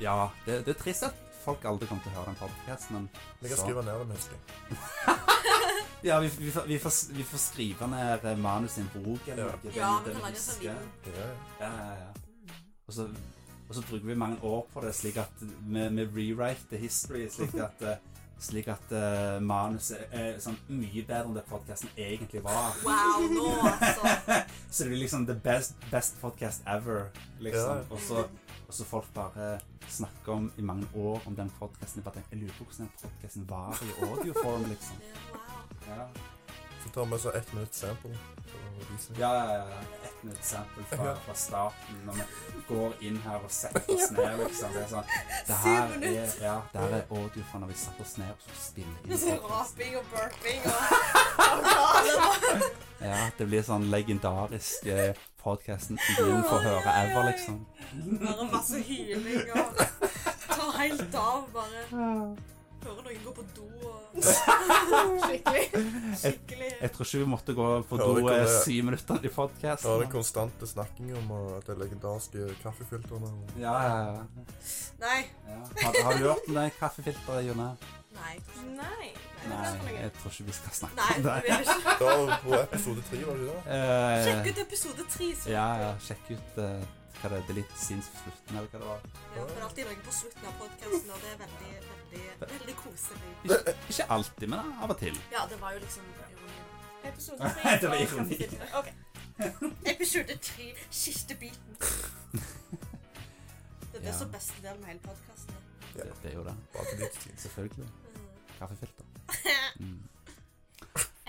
ja det, det er trist at folk aldri kommer til å høre den podkasten, men Jeg kan så- skrive ned den, husker jeg. ja, vi, vi, får- vi, får, vi får skrive ned eh, manus i en bok eller Ja. noe. det Ja, vi kan vi lage en sånn husker. liten Ja, ja. Ja, ja, ja. Og så, og så bruker vi mange år på det, slik at vi, vi rewrite the history, slik at, eh, slik at eh, manuset er sånn mye bedre enn det podkasten egentlig var. Wow, nå altså. Så det blir liksom the best, best podcast ever, liksom. Ja. Og, så, og så folk bare snakker om i mange år om den podkasten. Jeg bare tenker, jeg lurer på hvordan den podkasten var i audioform, liksom. Ja, wow. Ja, Så tar vi så ett minutt sample. for å vise. ja, ja, ja. Et nytt eksempel fra, fra starten, når vi går inn her og setter oss ned, liksom. Det er sånn, det her er, ja, det her er audio fra når vi satte oss ned og skulle spille inn. podcasten. Raping og burping og Ja, det blir sånn legendarisk eh, podcasten ingen får høre ever, liksom. bare masse hyling og tar helt av. Bare hører noen gå på do og Skikkelig. skikkelig Jeg tror ikke vi måtte gå på Hører do ikke eh, det. syv minutter i Da er det podkasten. konstante snakking om uh, det legendariske kaffefilterne. og- Ja, ja, ja. Nei. ja. Har, har du hørt om det kaffefilteret, Jone? Nei. jeg tror ikke. Nei. Nei, Nei. det er jeg tror ikke vi skal snakke Nei, om det det. vil jeg ikke. Da på episode tre, var det ikke det? Eh, Sjekk ut episode tre. så- Ja, ja, sjekk ut eh, hva det er. Delete scenes på slutten, eller hva det var. Ja, for det er alltid noe på slutten av podkasten, og det er veldig, veldig, veldig koselig. Ikke, ikke alltid, men av og til. Ja, det var jo liksom ironi. ikke- Episode tre. Det var ironi. Ok. Episode tre, siste biten. Det er Ja. det som er beste delen av hele podkasten. Ja. Det, det er jo det. Bare på litt tid. Selvfølgelig. Kaffefilter. Mm.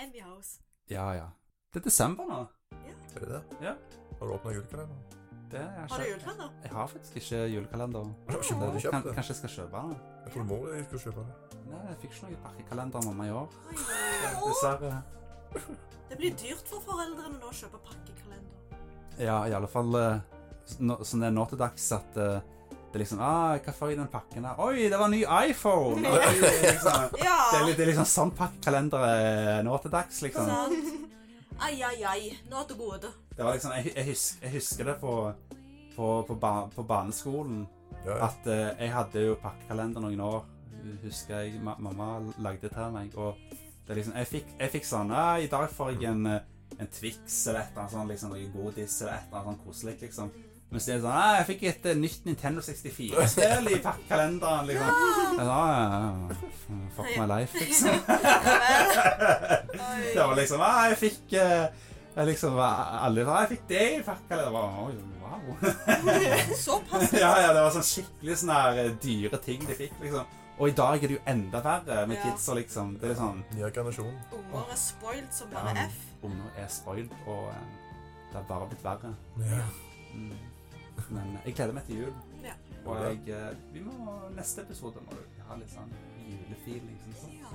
Anyhows. Ja, ja. Det er desember nå. Er det det? Ja. Har du åpnet julekalenderen? Det er Har du ikke- julekalender? Jeg har faktisk ikke julekalender. Har du ikke Det- kjøpt kan, det? kanskje jeg skal kjøpe den? Jeg tror mor di skulle kjøpe det. Nei, jeg fikk ikke noen pakkekalender av mamma i år. Oi. Dessverre. Det blir dyrt for foreldrene nå å kjøpe pakkekalender. Ja, i alle fall eh, nå- sånn det er nå til dags at eh, det er liksom ah, Hva får jeg i den pakken her? Oi, det var en ny iPhone! Oi, liksom. Det er, Ja! litt- det er liksom sånn pakkekalender er nå til dags, liksom. Sant. Ai, ai, ai. Nå til gode. Det var liksom, jeg, jeg, husker, jeg husker det på, på, på, ba, på barneskolen. Ja, ja. At eh, jeg hadde jo pakkekalender noen år, husker jeg. Ma mamma lagde det til meg. Og det er liksom, jeg fikk, jeg fikk sånn ah, I dag får jeg en, eh, en Twix eller et eller annet sånn, liksom, noe godis eller et eller annet sånn koselig, liksom. Mens det er sånn ah, Jeg fikk et eh, nytt Nintendo 64-spill i pakkekalenderen, liksom. Jeg sa, ah, ja, ja, ja. Fuck my life, liksom. Ja vel. Det var liksom ah, Jeg fikk eh, Jeg liksom var- Alle var 'Jeg fikk det i pakka!' Det var oi, wow. Såpass. ja, ja, det var sånn skikkelig sånne her eh, dyre ting de fikk, liksom. Og i dag er det jo enda verre med Ja. kids og liksom Det er litt sånn Ny generasjon. Unger er spoiled som bare Ja. F. Unger er spoiled, og eh, det har bare blitt verre. Ja. Mm. Men eh, jeg gleder meg til jul. Ja. Og jeg, eh, vi må, neste episode må du ha litt sånn julefeeling. Sånn, sånn. Ja.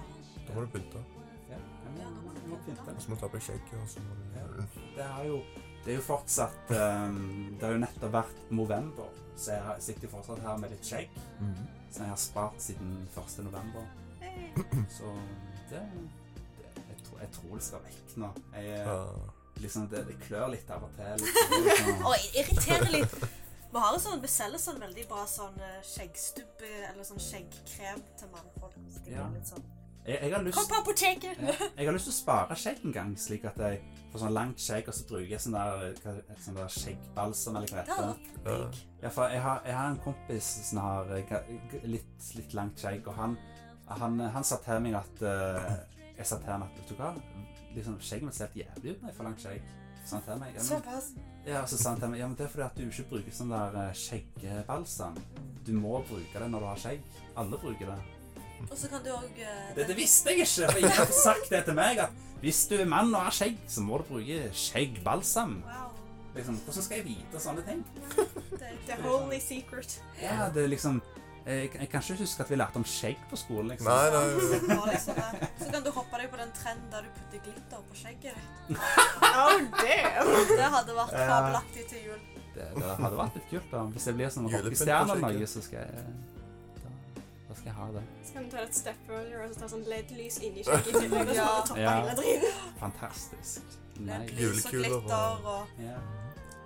Da må du pynte. Ja, ja, men vi må pynte Og litt. så må du ta på deg skjegget. og så må du- Det er jo, det er jo fortsatt eh, Det har jo nettopp vært november, så jeg har- sitter jo fortsatt her med litt skjegg. Mhm. Som jeg har spart siden 1. november. Hey. Så det, det jeg, tror, jeg tror det skal vekk nå. Jeg, eh, Ja. liksom, det, det klør litt av og til. Liksom, liksom. Og irriterer litt. Vi har jo sånn, vi selger sånn veldig bra sånn eh, skjeggstubbe eller sånn skjeggkrem til mannfolk. Så de Ja. er litt sånn. Jeg, jeg, har Kom lyst, på apoteket! ja, jeg har lyst til å spare skjegg en gang, slik at jeg får sånn langt skjegg, og så bruker jeg sånn der, hva, et sånn der skjeggbalsam eller hva Det hadde heter det vært Ja. digg. Ja, for jeg har, jeg har en kompis som har eh, ga- g- litt, litt langt skjegg, og han, han, han sa til meg at eh, Jeg sa til ham at vet du hva, liksom, skjegget mitt ser helt jævlig ut når jeg får langt skjegg. Så sa han til meg, ja, men, Såpass. ja, og så sa han til meg ja, men det er fordi at du ikke bruker sånn der eh, skjeggbalsam. Du må bruke det når du har skjegg. Alle bruker det. Og så kan du eh, òg Dette visste jeg ikke, for ingen hadde sagt det til meg. At hvis du er mann og har skjegg, så må du bruke skjeggbalsam. Wow. Liksom, hvordan skal jeg vite sånne ting? The holy secret. Ja, det er liksom jeg, jeg kan ikke huske at vi lærte om skjegg på skolen. liksom. Nei, nei. Så bra, liksom, eh. Så kan du hoppe deg på den trenden der du putter glitter på skjegget ditt. Oh, damn! Det hadde vært Ja. fabelaktig til jul. Det, det hadde vært litt kult. da. Hvis jeg blir sånn Julepynt på rockestjerne eller noe, skjegget. så skal jeg da, da skal jeg ha det. Så kan du ta et step earlier og så ta sånn LED-lys inn i skjegget. i tillegg, og så Ja. bare toppe Ja. hele driten. Fantastisk. Med Nei. lys og Julekuler og- glitter og Ja.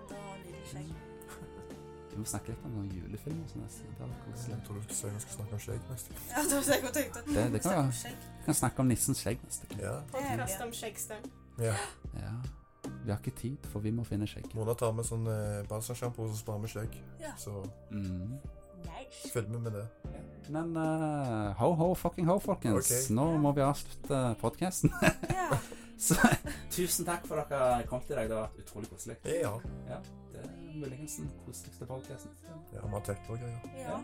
Det var nydelig skjegg. Vi må snakke litt om noen julefilmer. og sånn neste. Det, hadde vært Jeg koselig. tror du skal si vi skal snakke om skjegg neste gang. Ja, det var det jeg tenkte. det, det kan Snakk om være. skjegg. Vi kan snakke om nissens skjegg neste gang. Ja. Podcast om skjeggstang. ja. Ja. Vi har ikke tid, for vi må finne skjegget. Mona tar med sånn eh, balsamsjampo og så sparer vi skjegg. Ja. Så Mm. Nice. filmer vi det. Men eh, ho, ho, fucking ho, folkens. Ok. Nå må vi avslutte podkasten. Ja. Så tusen takk for at dere kom til i dag. Det var utrolig koselig. Ja. Det er muligens den koseligste podcasten. ja vi har tett og greier. ja.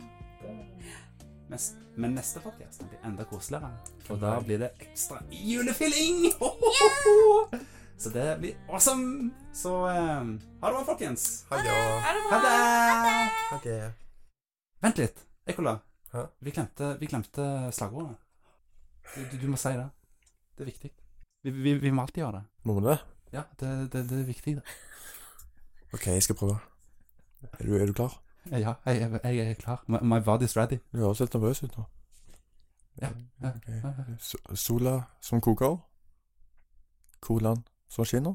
Men, men neste podcast den blir enda koseligere. Og da blir det ekstra julefilling! Ho, ho, ho, ho! Så det blir awesome! Så eh, ha det bra, folkens. Ha det! Ha det! Ha det. Vent litt, Ekola. Hæ? Vi glemte, vi glemte slagordet. Du, du, du må si det. Det er viktig. Vi, vi, vi må alltid gjøre det. Må vi det? Ja, det, det, det er viktig. Det. OK, jeg skal prøve. Er du, er du klar? Ja, jeg, jeg, jeg er klar. My, my body's ready. Du høres litt nervøs ut nå. Ja, ja. Ok. So- Sola som koker. Colaen som skinner.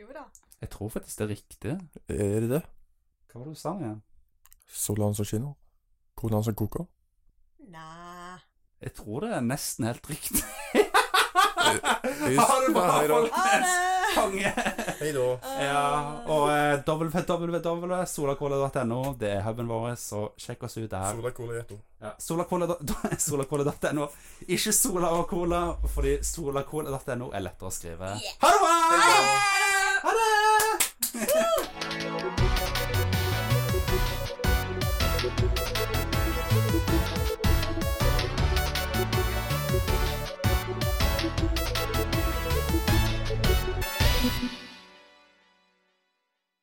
Jo da. Jeg tror faktisk det er riktig. Er det det? Hva var det du sa nå igjen? Solaen som skinner. Colaen som koker. Nei. Jeg tror det er nesten helt riktig. Yes. Har du bra, Hei da. Ha folkens? det! Konge! Hei da. Ja, og eh, www.solacola.no, det er huben vår, så sjekk oss ut der. Sola, cola, gjetto. Ja, solacola- Solacola.no, ikke Sola og Cola, fordi solacola.no er lettere å skrive. Ha det bra!